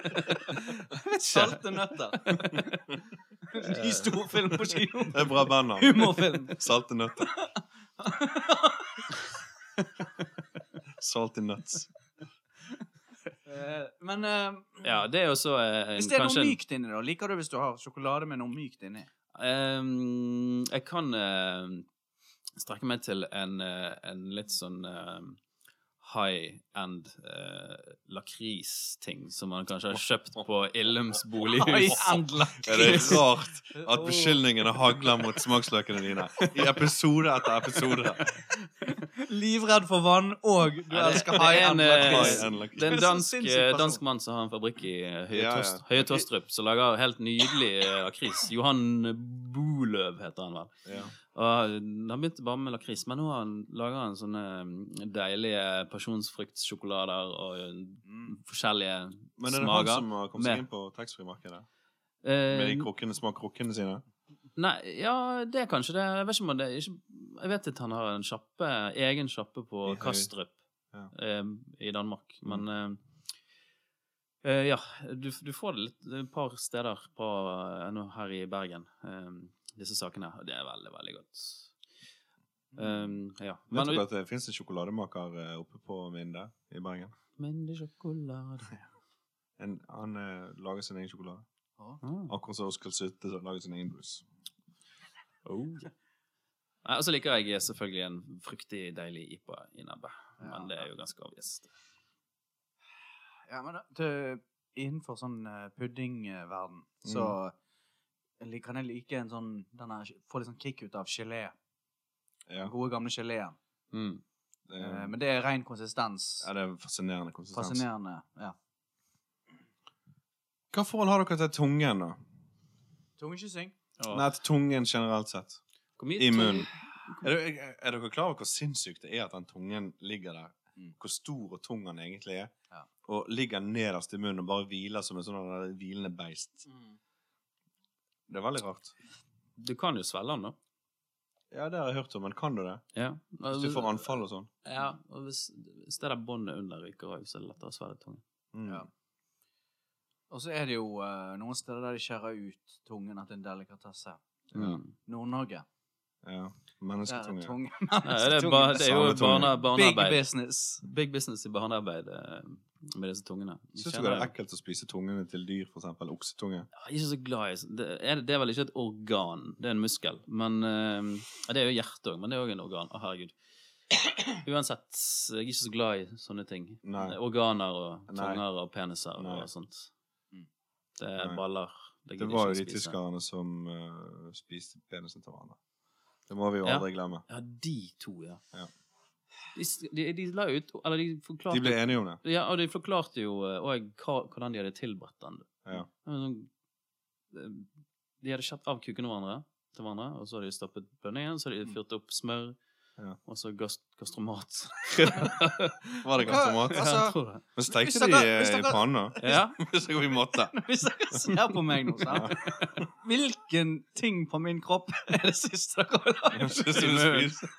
Speaker 3: dette? Salte nøtter.
Speaker 2: eh,
Speaker 3: Ny storfilm på kino.
Speaker 1: Det er bra bandnavn.
Speaker 3: Humorfilm.
Speaker 1: Salte nøtter. Salty nuts.
Speaker 3: Eh, Men eh,
Speaker 2: Ja, det er jo så eh,
Speaker 3: hvis det er
Speaker 2: kanskje
Speaker 3: noe
Speaker 2: en-
Speaker 3: mykt inni, da? Liker du hvis du har sjokolade med noe mykt inni?
Speaker 2: Ehm, jeg kan ehm, strekke meg til en, eh, en litt sånn ehm, high-end eh, lakristing som man kanskje har kjøpt på Illums bolighus.
Speaker 1: Er
Speaker 3: High-end
Speaker 1: det
Speaker 3: lakris.
Speaker 1: rart
Speaker 2: Oh.
Speaker 1: at beskyldningene hagler mot smaksløkene dine i episode etter episode?
Speaker 3: Livredd for vann, og du
Speaker 2: Ja, det-
Speaker 3: elsker
Speaker 2: det er en,
Speaker 3: high-end
Speaker 2: eh,
Speaker 1: High-end
Speaker 3: lakris.
Speaker 2: Det er
Speaker 1: lakris.
Speaker 3: Du
Speaker 2: en
Speaker 3: er så
Speaker 2: dansk, eh,
Speaker 3: sinnssyk person.
Speaker 2: dansk mann som har en fabrikk i eh, Høye
Speaker 1: Ja, ja.
Speaker 2: Torst- Høye Tostrup, som lager helt nydelig eh, lakris. Johan Boløv heter han vel.
Speaker 1: Ja.
Speaker 2: Og eh, han begynte bare med lakris, men nå har han lager han sånne mm, deilige pasjonsfruktsjokolader og mm, forskjellige
Speaker 1: Men er det han
Speaker 2: smaker.
Speaker 1: som har kommet seg
Speaker 2: Med-
Speaker 1: inn på taxfree-markedet?
Speaker 2: Eh,
Speaker 1: Med de krukkene, små krukkene sine?
Speaker 2: Nei, ja, det er kanskje det. Jeg vet ikke om han- det er ikke, Jeg vet at han har en sjappe, egen sjappe på
Speaker 1: I Høy-
Speaker 2: Kastrup
Speaker 1: Ja.
Speaker 2: eh, i Danmark, men eh, eh, ja, du, du får det litt et par steder på, eh, nå her i Bergen, eh, disse sakene. og Det er veldig, veldig godt. Eh, ja.
Speaker 1: Mm.
Speaker 2: Men,
Speaker 1: Vet dere at det fins en sjokolademaker eh, oppe på Minde i Bergen?
Speaker 2: men det er sjokolade
Speaker 1: En, han eh, lager sin egen sjokolade.
Speaker 2: Ah.
Speaker 1: Akkurat som Oskar Sutte så lager sin egen brus. Oh.
Speaker 2: Nei, Og så liker jeg selvfølgelig en fruktig, deilig IPA i nebbet.
Speaker 3: Ja.
Speaker 2: Men det er jo ganske obvious.
Speaker 3: Ja, men da, det, innenfor sånn eh, puddingverden, så li- kan jeg like en sånn denne, Få litt sånn kick ut av gelé.
Speaker 1: Ja.
Speaker 3: Den gode, gamle geleen.
Speaker 2: Mm.
Speaker 1: Det,
Speaker 3: Eh,
Speaker 1: er-
Speaker 3: men det er ren konsistens.
Speaker 2: Eh,
Speaker 1: ja, det er fascinerende konsistens.
Speaker 3: Fascinerende. Ja.
Speaker 1: Hva forhold har dere til tungen, da?
Speaker 3: Tungekyssing.
Speaker 2: Og,
Speaker 1: Nei, til tungen generelt sett.
Speaker 2: hvor mye
Speaker 1: I
Speaker 2: tung-
Speaker 1: munnen. Er, du, er, er dere klar over hvor sinnssykt det er at den tungen ligger der?
Speaker 3: Mm.
Speaker 1: Hvor stor og tung den egentlig er?
Speaker 3: Ja.
Speaker 1: Og ligger nederst i munnen og bare hviler som en sånn der hvilende beist.
Speaker 3: Mm.
Speaker 1: Det er veldig rart.
Speaker 2: Du kan jo svelge den, da.
Speaker 1: Ja, det har jeg hørt om, men kan du det?
Speaker 2: Ja.
Speaker 1: Hvis du får anfall og sånn.
Speaker 2: Ja, og hvis, hvis det der båndet under ryker òg, så er det lettere å svelge tungen.
Speaker 1: Mm.
Speaker 3: Ja. Og så er det jo eh, noen steder der de skjærer ut tungen til en delikatesse.
Speaker 2: Mm.
Speaker 3: Nord-Norge.
Speaker 1: Ja.
Speaker 3: Der er
Speaker 1: Mennesketunge.
Speaker 3: tungen.
Speaker 2: Ja, det, er ba, det er jo
Speaker 1: Sametunge.
Speaker 2: barne,
Speaker 3: Big
Speaker 2: barnearbeid.
Speaker 3: business.
Speaker 2: Big business i barnearbeid eh, med disse tungene.
Speaker 1: Syns
Speaker 2: Kjenner
Speaker 1: dere det
Speaker 2: jeg-
Speaker 1: er ekkelt å spise tungene til dyr, for eksempel oksetunge?
Speaker 2: Jeg er ikke så glad i det, er, det er vel ikke et organ, det er en muskel. Men eh, ja, Det er jo hjertet òg, men det er òg en organ. Å, herregud. Uansett, jeg er ikke så glad i sånne ting.
Speaker 1: Nei.
Speaker 2: Organer og
Speaker 1: Nei.
Speaker 2: tunger og peniser
Speaker 1: Nei.
Speaker 2: og sånt.
Speaker 3: Mm.
Speaker 2: Det er
Speaker 1: Nei.
Speaker 2: baller.
Speaker 1: Det
Speaker 2: gidder
Speaker 1: var jo
Speaker 2: jeg
Speaker 1: de
Speaker 2: ikke å spise.
Speaker 1: tyskerne som eh, spiste penisen til hverandre. Det må vi jo
Speaker 2: Ja.
Speaker 1: aldri glemme.
Speaker 2: Ja, de to, ja.
Speaker 1: Ja.
Speaker 2: De, s- de, de la ut Eller de forklarte
Speaker 1: De ble enige om det.
Speaker 2: Ja, og de forklarte jo òg hvordan de hadde tilberedt den.
Speaker 1: Ja.
Speaker 2: Det var sånn, eh, De hadde skjært av kukene hverandre, til hverandre, og så hadde de stappet bønner igjen, så hadde de fyrt opp smør,
Speaker 1: Mm. Ja.
Speaker 2: og så gast gastromat.
Speaker 1: Var det gastromat?
Speaker 2: Ja,
Speaker 3: Altså-
Speaker 2: jeg tror det.
Speaker 1: Men
Speaker 3: Hvis
Speaker 1: stekte
Speaker 3: dere-
Speaker 1: de eh,
Speaker 3: hvis
Speaker 1: i
Speaker 3: dere-
Speaker 1: panna?
Speaker 2: Ja,
Speaker 1: Hvis dere i måte.
Speaker 3: Hvis dere ser på meg nå, sant? Hvilken ting på min kropp er det siste dere vil ha?
Speaker 1: Jeg synes du spiser.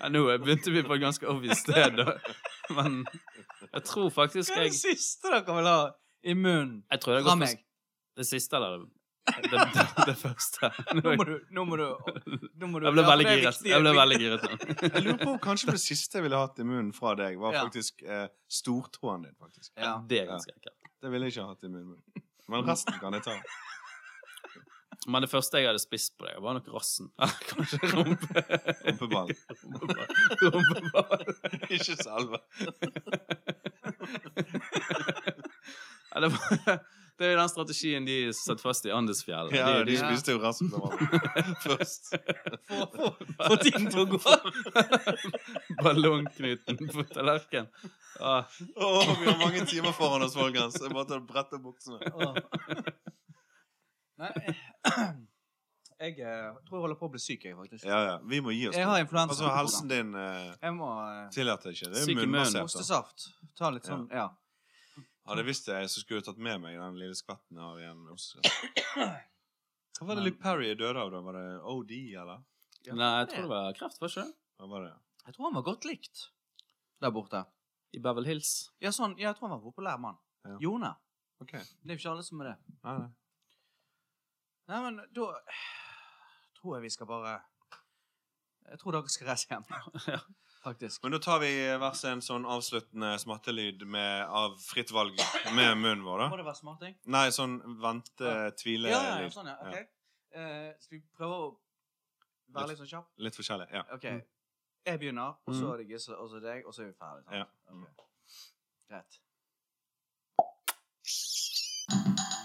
Speaker 2: ja, nå begynte vi på et ganske obvious sted, da. Men jeg tror faktisk
Speaker 3: Hva
Speaker 2: jeg
Speaker 3: er det siste dere vil ha i munnen
Speaker 2: Jeg tror det
Speaker 3: fra
Speaker 2: går
Speaker 3: meg?
Speaker 2: først. Det siste, eller? Det, det, det første. Nå
Speaker 3: Nå
Speaker 2: er
Speaker 3: må
Speaker 2: jeg-
Speaker 3: du, nå må du, nå må du
Speaker 2: Jeg ble
Speaker 3: Ja, for
Speaker 2: veldig
Speaker 3: det er
Speaker 2: giret.
Speaker 3: viktig-
Speaker 2: Jeg ble
Speaker 3: viktig-
Speaker 2: veldig giret nå.
Speaker 1: Jeg lurer på om kanskje det siste jeg ville hatt i munnen fra deg, var
Speaker 3: Ja.
Speaker 1: faktisk eh, stortåen din. faktisk.
Speaker 3: Ja.
Speaker 2: Det er ganske ekkelt.
Speaker 1: Det ville jeg ikke hatt i munnen. min. Men resten kan jeg ta.
Speaker 2: Men det første jeg hadde spist på deg, var nok rassen. Kanskje rumpe.
Speaker 1: Rumpeball.
Speaker 2: Rumpeball. Rumpeball.
Speaker 1: ikke salve.
Speaker 2: Ja, det, var, det er jo den strategien de satt fast i Andesfjell.
Speaker 1: Ja,
Speaker 2: de,
Speaker 1: de
Speaker 3: Ja.
Speaker 1: spiste jo resten av hverandre først.
Speaker 3: Få få- få ting til å gå.
Speaker 2: Ballongknuten på tallerkenen. Ah,
Speaker 1: Å, vi har mange timer foran oss, folkens. Jeg måtte brette opp buksene.
Speaker 3: Åh. Nei, jeg eh, tror jeg holder på å bli syk, jeg, faktisk.
Speaker 1: Ja, ja. Vi må gi oss.
Speaker 3: Jeg har sånn influensa.
Speaker 1: Altså, helsen din eh,
Speaker 3: Jeg må eh,
Speaker 1: tillater ikke. Det
Speaker 2: Syk i
Speaker 1: er
Speaker 2: munnen.
Speaker 1: munnbasert. da.
Speaker 3: Ostesaft. Ta litt sånn Ja.
Speaker 1: Hadde jeg visst det, så skulle jeg tatt med meg den lille skvetten jeg har igjen. Hva var det
Speaker 3: Men-
Speaker 1: Luke Perry døde av? da? Var det OD, eller?
Speaker 3: Ja,
Speaker 2: nei, jeg tror det var kreft, var det ikke det?
Speaker 1: Hva var det?
Speaker 3: Jeg tror han var godt likt der borte.
Speaker 2: I Beverly Hills.
Speaker 3: Ja, sånn. Ja, jeg tror han var en populær mann.
Speaker 1: Ja.
Speaker 3: Jone.
Speaker 1: Ok.
Speaker 3: Det er jo ikke alle som er det.
Speaker 1: Nei, nei.
Speaker 3: Nei, men da eh, tror jeg vi skal bare Jeg tror dere skal reise hjem.
Speaker 2: Ja.
Speaker 3: Faktisk.
Speaker 1: Men da tar vi hver sin sånn avsluttende smattelyd med, av fritt valg med munnen vår, da.
Speaker 3: Må det være smarting?
Speaker 1: Nei, sånn vente-tvile
Speaker 3: Ja, ja, ja, sånn, ja. Ok. Eh, skal vi prøve å være litt sånn kjapp?
Speaker 1: Litt forskjellig. Ja.
Speaker 3: OK. Jeg begynner, og så
Speaker 2: Mm.
Speaker 3: er det Gisle, og så deg, og så er vi ferdig. Sant?
Speaker 1: Ja.
Speaker 3: Ok. Greit.